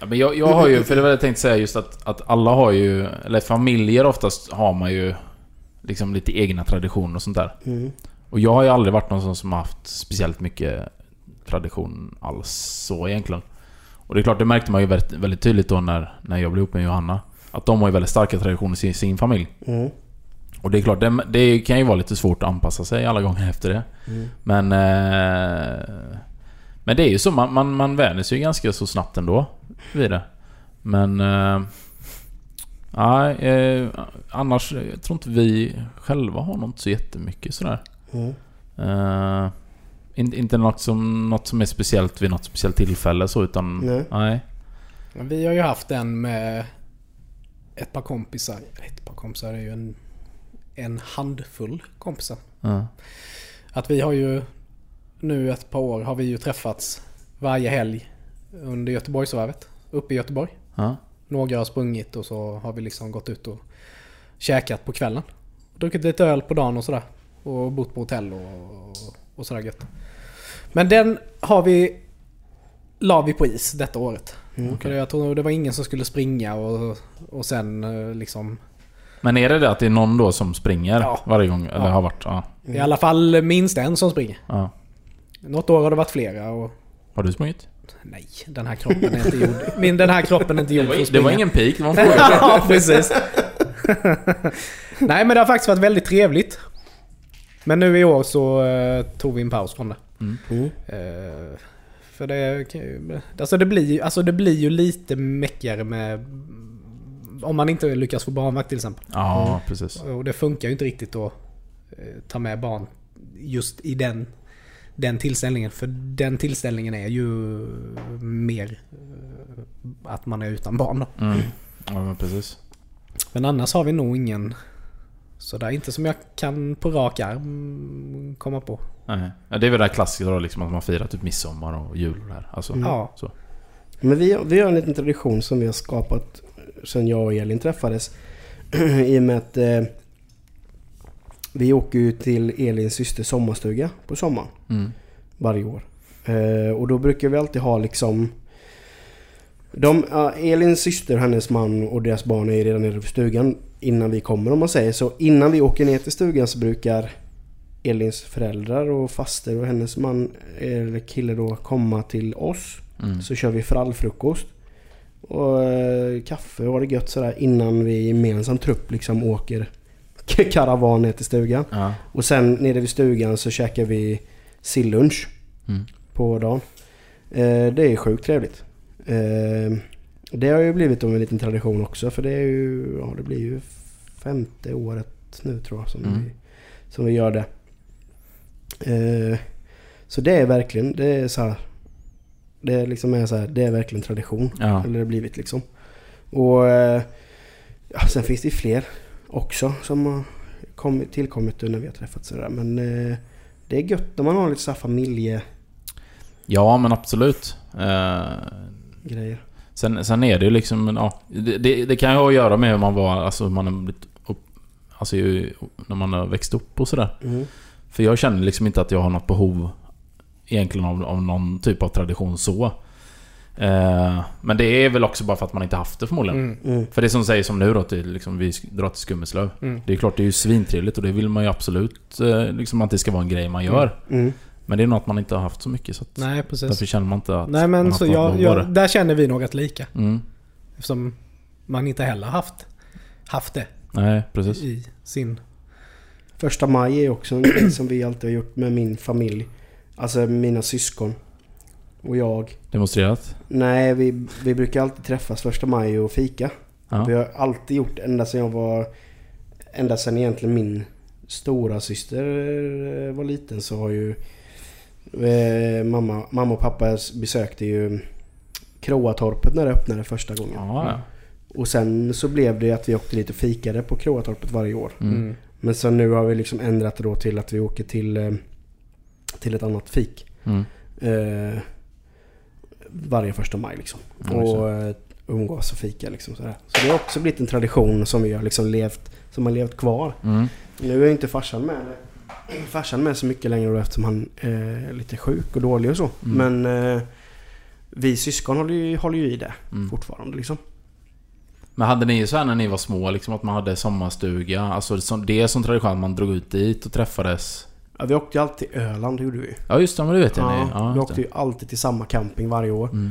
Ja, men jag, jag har ju, för det var det jag tänkte säga just att, att alla har ju, eller familjer oftast har man ju liksom lite egna traditioner och sånt där.
Mm.
Och jag har ju aldrig varit någon sån som har haft speciellt mycket tradition alls så egentligen. Och det är klart, det märkte man ju väldigt, väldigt tydligt då när, när jag blev ihop med Johanna. Att de har ju väldigt starka traditioner i sin, sin familj.
Mm.
Och det är klart, det, det kan ju vara lite svårt att anpassa sig alla gånger efter det. Men... Eh, men det är ju så, man, man, man vänjer sig ju ganska så snabbt ändå vid det. Men... Eh, nej, eh, annars eh, jag tror inte vi själva har något så jättemycket sådär.
Mm.
Eh, in, inte något som, något som är speciellt vid något speciellt tillfälle så, utan...
Nej.
nej.
Men vi har ju haft en med ett par kompisar. Ett par kompisar är ju en, en handfull kompisar.
Ja.
Att vi har ju nu ett par år har vi ju träffats varje helg under Göteborgsvarvet. Uppe i Göteborg.
Ja.
Några har sprungit och så har vi liksom gått ut och käkat på kvällen. Druckit lite öl på dagen och sådär. Och bott på hotell och, och sådär gött. Men den har vi... La vi på is detta året. För jag tror det var ingen som skulle springa och, och sen eh, liksom...
Men är det det att det är någon då som springer
Ja.
varje gång? Eller
Ja.
har varit? Ja.
I alla fall minst en som springer.
ja.
Något år har det varit flera och...
Har du sprungit?
Nej, den här kroppen är inte gjord. Min, den här kroppen är inte gjord för att
Det
springa.
var ingen pik, det var en fråga.
ja, precis. Nej, men det har faktiskt varit väldigt trevligt. Men nu i år så eh, tog vi en paus från det.
Mm.
Eh, för det, kan ju- alltså det, blir, ju- alltså det blir ju lite mäckigare med... Om man inte lyckas få barnvakt till exempel.
Ja, precis.
Och det funkar ju inte riktigt att eh, ta med barn just i den, den tillställningen. För den tillställningen är ju mer eh, att man är utan barn. Då.
Mm. Ja, men precis.
Men annars har vi nog ingen sådär. Inte som jag kan på rak arm komma på.
Nej. Ja, det är väl det här klassiska då, liksom, att man firar typ midsommar och jul och det här. Alltså,
Ja.
så.
Men vi, vi har en liten tradition som vi har skapat sen jag och Elin träffades. I och med att eh, vi åker ju till Elins systers sommarstuga på sommaren.
Mm.
varje år. Eh, och då brukar vi alltid ha liksom... De, ja, Elins syster, hennes man och deras barn är ju redan nere på stugan innan vi kommer om man säger så. Innan vi åker ner till stugan så brukar Elins föräldrar och faster och hennes man eller kille då komma till oss.
Mm.
Så kör vi frallfrukost. Och eh, kaffe och har det gött sådär innan vi gemensam trupp liksom åker karavan ner till stugan.
Ja.
Och sen nere vid stugan så käkar vi sillunch
Mm.
på dagen. Eh, det är sjukt trevligt. Eh, det har ju blivit om en liten tradition också för det är ju, ja det blir ju femte året nu tror jag som,
Mm.
vi, som vi gör det. Eh, så det är verkligen, det är så här, det liksom är så här, det är verkligen tradition.
Ja.
Eller det har blivit liksom. Och eh, ja, sen finns det ju fler också som har kommit, tillkommit när vi har träffats sådär. Men eh, det är gött när man har lite så här familjegrejer.
ja, men absolut. Eh, sen, sen är det ju liksom... Ja, det, det, det kan ju ha att göra med hur man var, alltså hur man har blivit upp, Alltså ju- när man har växt upp och sådär.
Mm.
För jag känner liksom inte att jag har något behov egentligen av, av någon typ av tradition så. Eh, men det är väl också bara för att man inte haft det förmodligen.
Mm.
Mm.
För det som säger som nu då, att det är liksom, vi sk- drar till Skummeslöv.
Mm.
Det är klart, det är ju svintrevligt och det vill man ju absolut eh, liksom, att det ska vara en grej man gör.
Mm.
Men det är något man inte har haft så mycket så att
Nej,
därför
precis.
känner man inte att
Nej,
man
men
har
så
något
jag,
behov av
jag,
det.
där känner vi något lika.
Mm.
Eftersom man inte heller haft, haft det
Nej, precis.
i sin
Första maj är också en grej som vi alltid har gjort med min familj. Alltså mina syskon. Och jag.
Demonstrerat?
Nej, vi, vi brukar alltid träffas första maj och fika. Vi
Ja.
har alltid gjort ända sedan jag var... Ända sedan egentligen min stora syster eh, var liten så har ju... Eh, mamma, mamma och pappa besökte ju Kroatorpet när det öppnade första gången.
Ja, ja.
Och sen så blev det att vi åkte dit och fikade på Kroatorpet varje år.
Mm.
Men så nu har vi liksom ändrat det då till att vi åker till, eh, till ett annat fik.
Mm.
Eh, varje första maj liksom.
Ja,
och eh, umgås och fika liksom sådär. Så det har också blivit en tradition som vi har liksom levt, som har levt kvar.
Mm.
Nu är ju inte farsan med. Farsan med så mycket längre då eftersom han eh, är lite sjuk och dålig och så.
Mm.
Men eh, vi syskon håller ju, håller ju i det
Mm.
fortfarande liksom.
Men hade ni så här när ni var små, liksom att man hade sommarstuga? Alltså som- det är som tradition att man drog ut dit och träffades?
Ja, vi åkte ju alltid till Öland, det gjorde vi.
Ja just det, men det vet jag
Ja,
ni. Ja,
vi
just
åkte
det.
ju alltid till samma camping varje år.
Mm.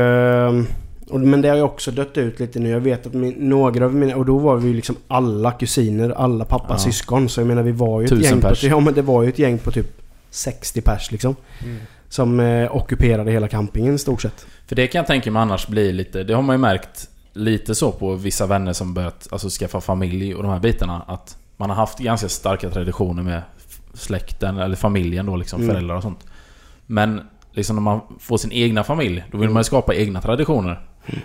Ehm, och, men det har ju också dött ut lite nu. Jag vet att min, några av mina... Och då var vi ju liksom alla kusiner, alla pappas
Ja.
syskon. Så jag menar vi var ju ett
Tusen
gäng
pers.
på... typ- Ja men det var ju ett gäng på typ 60 pers liksom.
Mm.
Som eh, ockuperade hela campingen i stort sett.
För det kan jag tänka mig annars blir lite, det har man ju märkt lite så på vissa vänner som börjat alltså, skaffa familj och de här bitarna. Att man har haft ganska starka traditioner med f- släkten eller familjen då liksom,
Mm.
föräldrar och sånt. Men liksom när man får sin egna familj, då vill man ju skapa egna traditioner.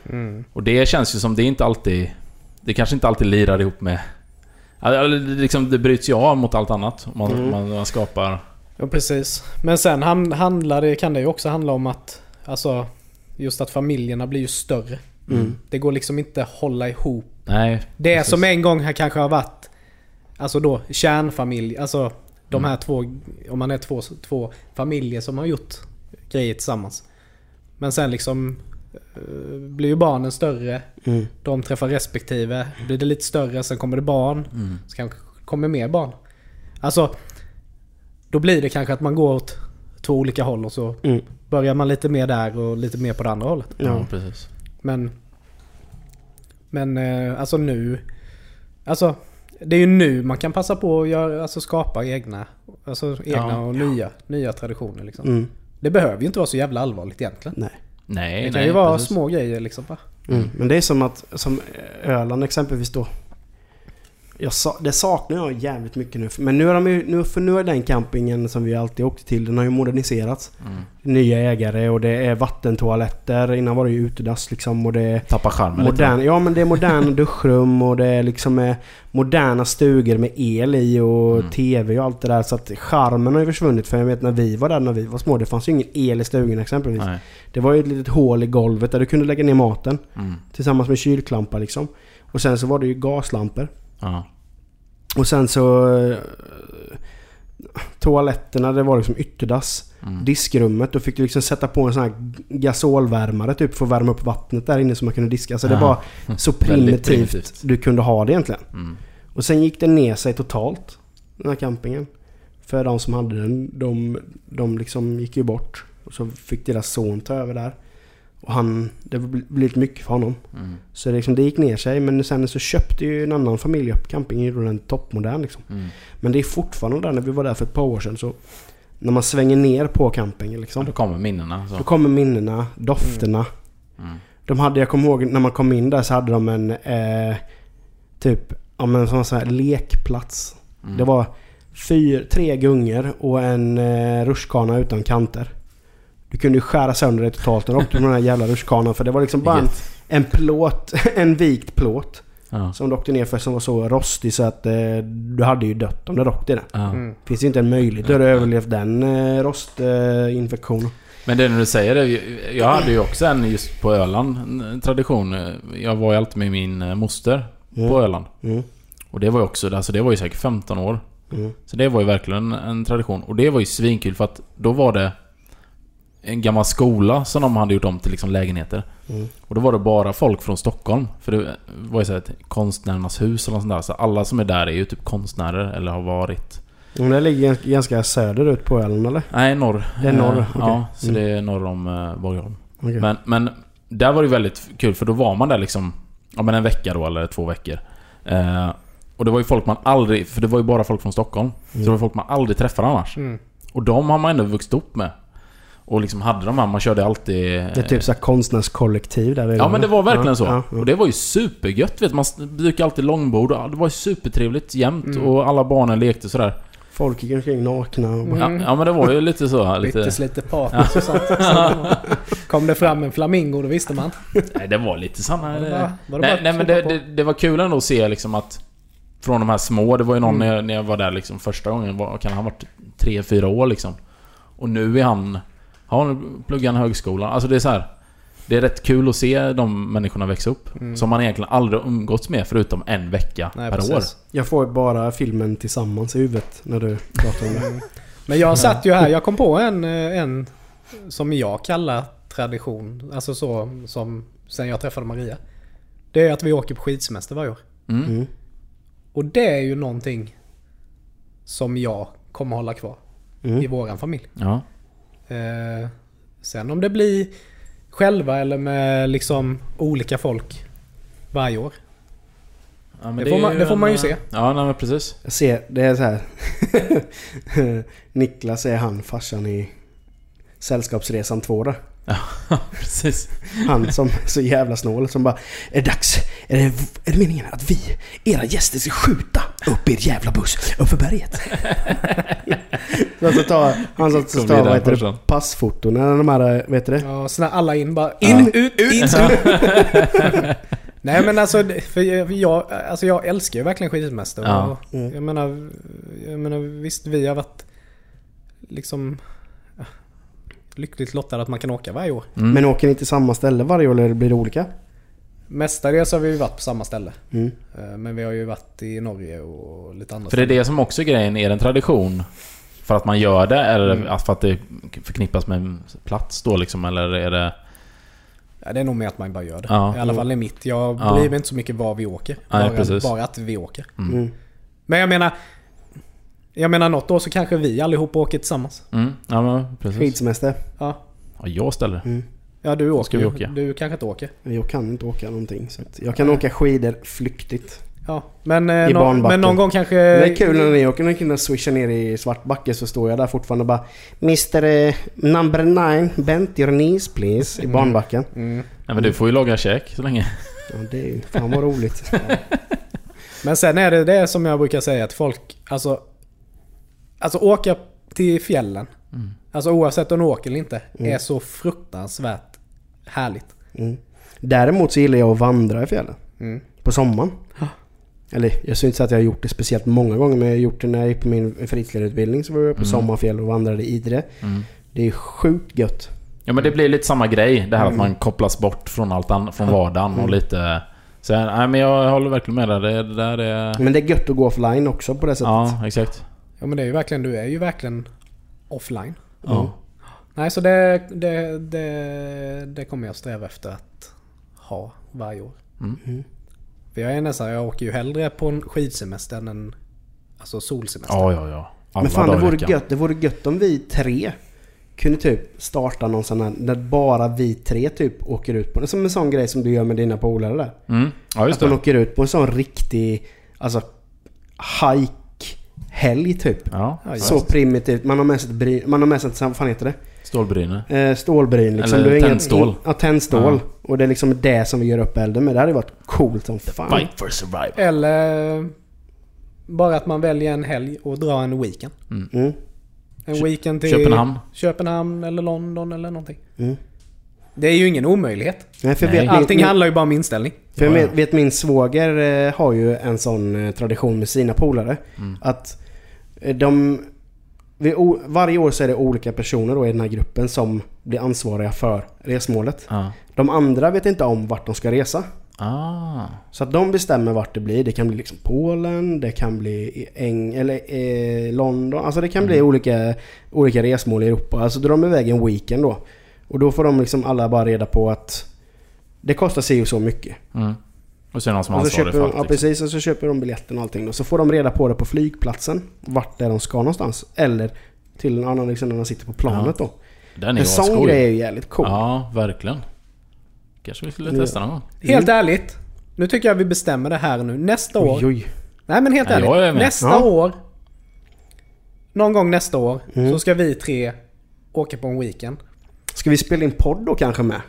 Mm.
Och det känns ju som det är inte alltid... Det kanske inte alltid lirar ihop med... Alltså, eller det liksom, det bryts ju av mot allt annat. Man,
Mm.
man, man skapar...
Ja precis. Men sen han, handlar det, kan det ju också handla om att alltså, just att familjerna blir ju större.
Mm.
Det går liksom inte hålla ihop.
Nej.
Det
Precis.
som en gång här kanske har varit alltså då kärnfamilj. Alltså de här två, om man är två, två familjer som har gjort grejer tillsammans. Men sen liksom eh, blir ju barnen större.
Mm.
De träffar respektive. Blir det lite större, sen kommer det barn.
Mm.
Så kanske kommer mer barn. Alltså, då blir det kanske att man går åt två olika håll och så
Mm.
börjar man lite mer där och lite mer på det andra hållet.
Ja,
Ja.
precis.
Men, men eh, alltså nu... Alltså, det är ju nu man kan passa på att göra, alltså skapa egna, alltså egna
Ja.
och nya, nya traditioner. Liksom.
Mm.
Det behöver ju inte vara så jävla allvarligt egentligen.
Nej.
Nej,
Det
nej.
kan ju vara
precis.
små grejer liksom. Va?
Mm. Men det är som att, som Öland exempelvis då. Jag sa, det saknar jag jävligt mycket nu. Men nu har, de ju, nu, för nu har den campingen som vi alltid åkte till, den har ju moderniserats.
Mm.
Nya ägare och det är vattentoaletter. Innan var det ju utedass liksom och det är
Tappar charmen lite.
modern, Ja men det är moderna duschrum och det är liksom eh, moderna stugor med el i och
Mm.
TV och allt det där. Så att charmen har ju försvunnit. För jag vet när vi var där när vi var små, det fanns ju ingen el i stugorna exempelvis.
Nej.
Det var ju ett litet hål i golvet där du kunde lägga ner maten.
Mm.
Tillsammans med kylklampa liksom. Och sen så var det ju gaslampor.
Ja.
Och sen så... eh, Toaletterna, det var liksom ytterdass.
Mm.
Diskrummet, då fick du liksom sätta på en sån här gasolvärmare typ för att värma upp vattnet där inne så man kunde diska. Så det
Ja. Mm.
var så primitivt,
Väldigt primitivt.
du kunde ha det egentligen.
Mm.
Och sen gick det ner sig totalt, den här campingen. För de som hade den, de, de liksom gick ju bort. Och så fick deras son ta över där. Och han, det blev lite mycket för honom.
Mm.
Så det, liksom, det gick ner sig men sen så köpte ju en annan familj upp campingen, gjorde den toppmodern liksom.
Mm.
Men det är fortfarande där när vi var där för ett par år sedan så när man svänger ner på campingen
Ja,
liksom.
då kommer minnena. Så.
Då kommer minnena, dofterna.
Mm.
De hade, jag kommer ihåg när man kom in där så hade de en eh, typ, ja men sån sån här lekplats.
Mm.
Det var fyra, tre gungor och en eh, rutschkana utan kanter. Du kunde ju skära sönder det totalt när du åkte med den här jävla rutschkanan för det var liksom bara en,
Vilket-
en plåt, en vikt plåt.
Ja.
Som du åkte ner för som var så rostig så att eh, du hade ju dött om du hade åkt i den.
Ja.
Mm.
Finns ju inte en möjlighet. Du hade överlevt den eh, rostinfektionen.
Men det när du säger det, jag hade ju också en just på Öland, en tradition. Jag var ju alltid med min eh, moster
Mm.
på Öland.
Mm.
Och det var ju också, alltså det var ju säkert 15 år.
Mm.
Så det var ju verkligen en tradition. Och det var ju svinkul för att då var det en gammal skola som de hade gjort om till liksom lägenheter.
Mm.
Och då var det bara folk från Stockholm. För det var ju så här ett konstnärernas hus eller något sånt där. Så alla som är där är ju typ konstnärer eller har varit.
Men det ligger gans- ganska söderut på Öland eller?
Nej, norr.
Det är norr,
Eh,
okej.
Ja, så
Mm.
det är norr om eh, Borgholm.
Okej.
Men, men där var det ju väldigt kul för då var man där liksom ja, men en vecka då eller två veckor. Eh, Och det var ju folk man aldrig... För det var ju bara folk från Stockholm.
Mm.
Så det var folk man aldrig träffade annars. Och de har man ändå vuxit upp med. Och liksom hade de här, man körde alltid...
Det är typ så här konstnärskollektiv där vi
eh, Ja men det var verkligen så.
Ja, ja.
Och det var ju supergött vet du. Man brukade alltid långbord och det var ju supertrevligt jämt
Mm.
och alla barnen lekte sådär.
Folk gick omkring nakna och bara,
Ja, ja men det var ju lite så här, lite...
Byttes lite partners och sånt. Sen kom det fram en flamingo, då visste man.
Nej det var lite sådana...
Var det bara- var det
nej,
bara
nej men det,
klippa
det, det var kul ändå att se liksom att... Från de här små, det var ju någon
Mm.
när, jag, när jag var där liksom första gången, var, kan han ha varit 3-4 år liksom. Och nu är han... Ja, nu pluggar han högskolan. Alltså det är så här. Det är rätt kul att se de människorna växa upp. Som man egentligen aldrig har umgåtts med förutom en vecka
Mm. Nej,
per år.
precis.
Jag får ju bara filmen tillsammans i huvudet när du pratar om det.
Mm.
Men jag satt ju här, jag kom på en, eh, en som jag kallar tradition. Alltså så som sen jag träffade Maria. Det är att vi åker på skidsemester varje år.
Mm.
Och det är ju någonting som jag kommer hålla kvar
Mm.
i våran familj.
Ja.
Eh, sen om det blir själva eller med liksom olika folk varje år.
Ja, men
Det får
är
man- det får man ju
en,
se.
eh, Ja, nej, men precis.
Jag ser, det är så här. Niklas är han farsan i Sällskapsresan 2 där.
precis.
Han som är så jävla snål som bara Är det dags? Är det, är det meningen att vi, era gäster, ska skjuta upp er jävla buss uppför berget? så att ta, han som
Kommer bli
tar, vad
den
heter det,
farsan.
passfoton eller de här, vet du det?
Ja, sådana alla in bara. In, ut, in, ut. Nej men alltså, det- för jag- för jag, alltså jag älskar ju verkligen skidsemester.
Ja.
Och
Mm.
Jag, menar, jag menar, visst vi har varit liksom ja, lyckligt lottade att man kan åka varje år.
Mm.
Men åker ni till samma ställe varje år eller blir det olika?
Mestadels har vi ju varit på samma ställe.
Mm.
Eh, Men vi har ju varit i Norge och lite andra
För det är det som också är grejen. Är det en tradition för att man gör det eller att- för att det förknippas med en plats då liksom? Eller är det...
Ja, det är nog mer att man bara gör det.
Ja.
I alla fall i mitt. Jag
Ja.
bryr mig inte så mycket var vi åker.
Nej,
bara,
precis.
bara att vi åker.
Mm.
Men jag menar... Jag menar något år så kanske vi allihop åker tillsammans.
Mm, ja men precis.
Skidsemester?
Ja,
Ja, jag ställer.
ja du åker
ska vi
ju.
åka.
Du kanske inte åker.
Jag kan inte åka någonting. Så att jag kan åka skidor flyktigt.
Ja, men, eh,
I
nå-
barnbacken.
men någon gång kanske...
det är kul när ni åker omkring och swishar ner i Svartbacke så står jag där fortfarande och bara Mr eh, number nine, bent your knees please. I barnbacken.
Nej men du får ju laga käk så länge.
Ja, det är ju fan vad roligt.
Men sen är det det som jag brukar säga till folk. Alltså, alltså åka till fjällen.
Mm.
Alltså oavsett om du åker eller inte. Är så fruktansvärt härligt.
Mm. Däremot så gillar jag att vandra i fjällen. På sommaren. Eller jag syns inte att jag har gjort det speciellt många gånger men jag har gjort det när jag gick på min fritidsledarutbildning så var jag på sommarfjäll och vandrade i Idre. Det är sjukt gött.
Ja men det blir lite samma grej. Det här att man kopplas bort från allt annat, från vardagen och lite... Så, nej men jag håller verkligen med dig. Det, det där är...
Men det är gött att gå offline också på det sättet.
Ja, exakt.
Ja men det är ju verkligen, du är ju verkligen offline. Mm.
Ja.
Nej så det, det, det, det kommer jag sträva efter att ha varje år.
Mm.
Mm. För jag är nästan, jag åker ju hellre på en skidsemester än en alltså solsemester.
Ja, ja, ja. Alla
Men fan
dagar
det
i
vore,
veckan.
gött, det vore gött om vi tre kunde typ starta någon sån här där bara vi tre typ åker ut på det. Som en sån grej som du gör med dina polare där.
Mm. Ja just
Att man
det.
åker ut på en sån riktig alltså hike-helg typ.
Ja.
Ja,
Så primitivt. Man har med sig ett bryn, man har med sig ett, vad fan heter
Stålbryne.
det? Eh, stålbryn liksom.
Eller
Du har ingen-
tändstål.
Ja, tändstål. Och det är liksom det som vi gör upp elden med. Det hade ju varit coolt som fan.
Fight for survival.
Eller bara att man väljer en helg och drar en weekend.
Mm.
En weekend till
Köpenhamn.
Köpenhamn eller London eller någonting.
Mm.
Det är ju ingen omöjlighet.
Nej, för
Nej.
vet,
Allting
min,
handlar ju bara om inställning.
för jag vet, vet min svåger eh, har ju en sån eh, tradition med sina polare. Att eh, de... Vi, o, varje år så är det olika personer då i den här gruppen som blir ansvariga för resmålet.
Ja.
De andra vet inte om vart de ska resa.
Ah.
Så att de bestämmer vart det blir. Det kan bli liksom Polen, det kan bli Eng eller eh, London. Alltså det kan bli olika, olika resmål i Europa. Alltså drar de iväg en weekend då. Och då får de liksom alla bara reda på att det kostar sig ju så mycket.
Mm. Och så är det någon som är
Och så
ansvarig
köper
för
de,
allt.
ja,
liksom.
precis, och så köper de biljetten och allting. Då. Så får de reda på det på flygplatsen. Vart det är de ska någonstans. Eller till en annan liksom när de sitter på planet då.
Den är
En
ju
sån
asskoj.
grej är ju jävligt cool.
Ja, verkligen. Kanske vi skulle testa någon gång.
Helt ärligt. Nu tycker jag vi bestämmer det här nu. Nästa år
Oj, oj.
Nej men helt
Ja, jag är
ärligt.
med.
Nästa
Ja.
år. Någon gång nästa år
Mm.
så ska vi tre åka på en weekend.
Ska vi spela in podd då kanske med?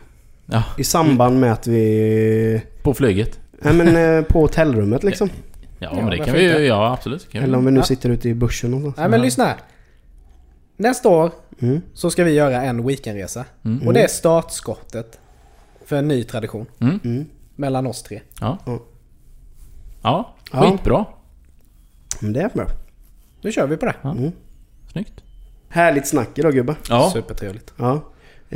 Ja,
I samband med att vi...
på flyget.
Nej men eh, på hotellrummet liksom.
Ja,
Ja,
men det kan
varför
vi
inte?
ju... Ja, absolut. Kan vi.
Eller om vi nu
Ja.
sitter ute i bushen någonstans.
Nej men lyssna här. Nästa år
Mm.
så ska vi göra en weekendresa. Och det är startskottet för en ny tradition.
Mm.
Mellan oss tre.
Ja.
Ja.
Ja,
Ja.
skitbra.
Men det är bra.
Nu kör vi på det.
Snyggt.
Härligt snack idag gubbar.
Ja,
Supertrevligt.
Ja.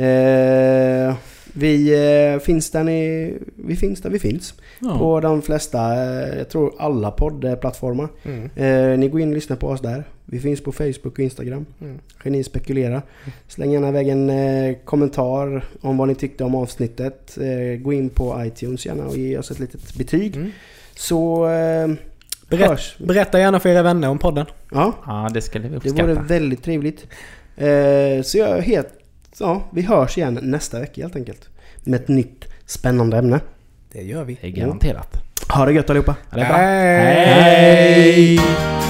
Eh, vi eh, finns där ni... Vi finns där vi finns.
Ja.
På de flesta, eh, jag tror alla poddplattformar.
Mm.
Eh, ni går in och lyssnar på oss där. Vi finns på Facebook och Instagram.
Mm.
Geni spekulera. Släng gärna iväg en eh, kommentar om vad ni tyckte om avsnittet. Eh, gå in på iTunes gärna och ge oss ett litet betyg.
Mm.
Så eh, hörs
Berätt,
vi.
berätta gärna för era vänner om podden.
Ja,
ja det ska vi
det vore
uppskatta.
väldigt trevligt. Eh, så jag helt, ja, vi hörs igen nästa vecka helt enkelt. Med ett nytt spännande ämne.
Det gör vi. Mm.
Det är garanterat.
Ha det gött allihopa!
Ja, det är bra.
Hej!
Hej!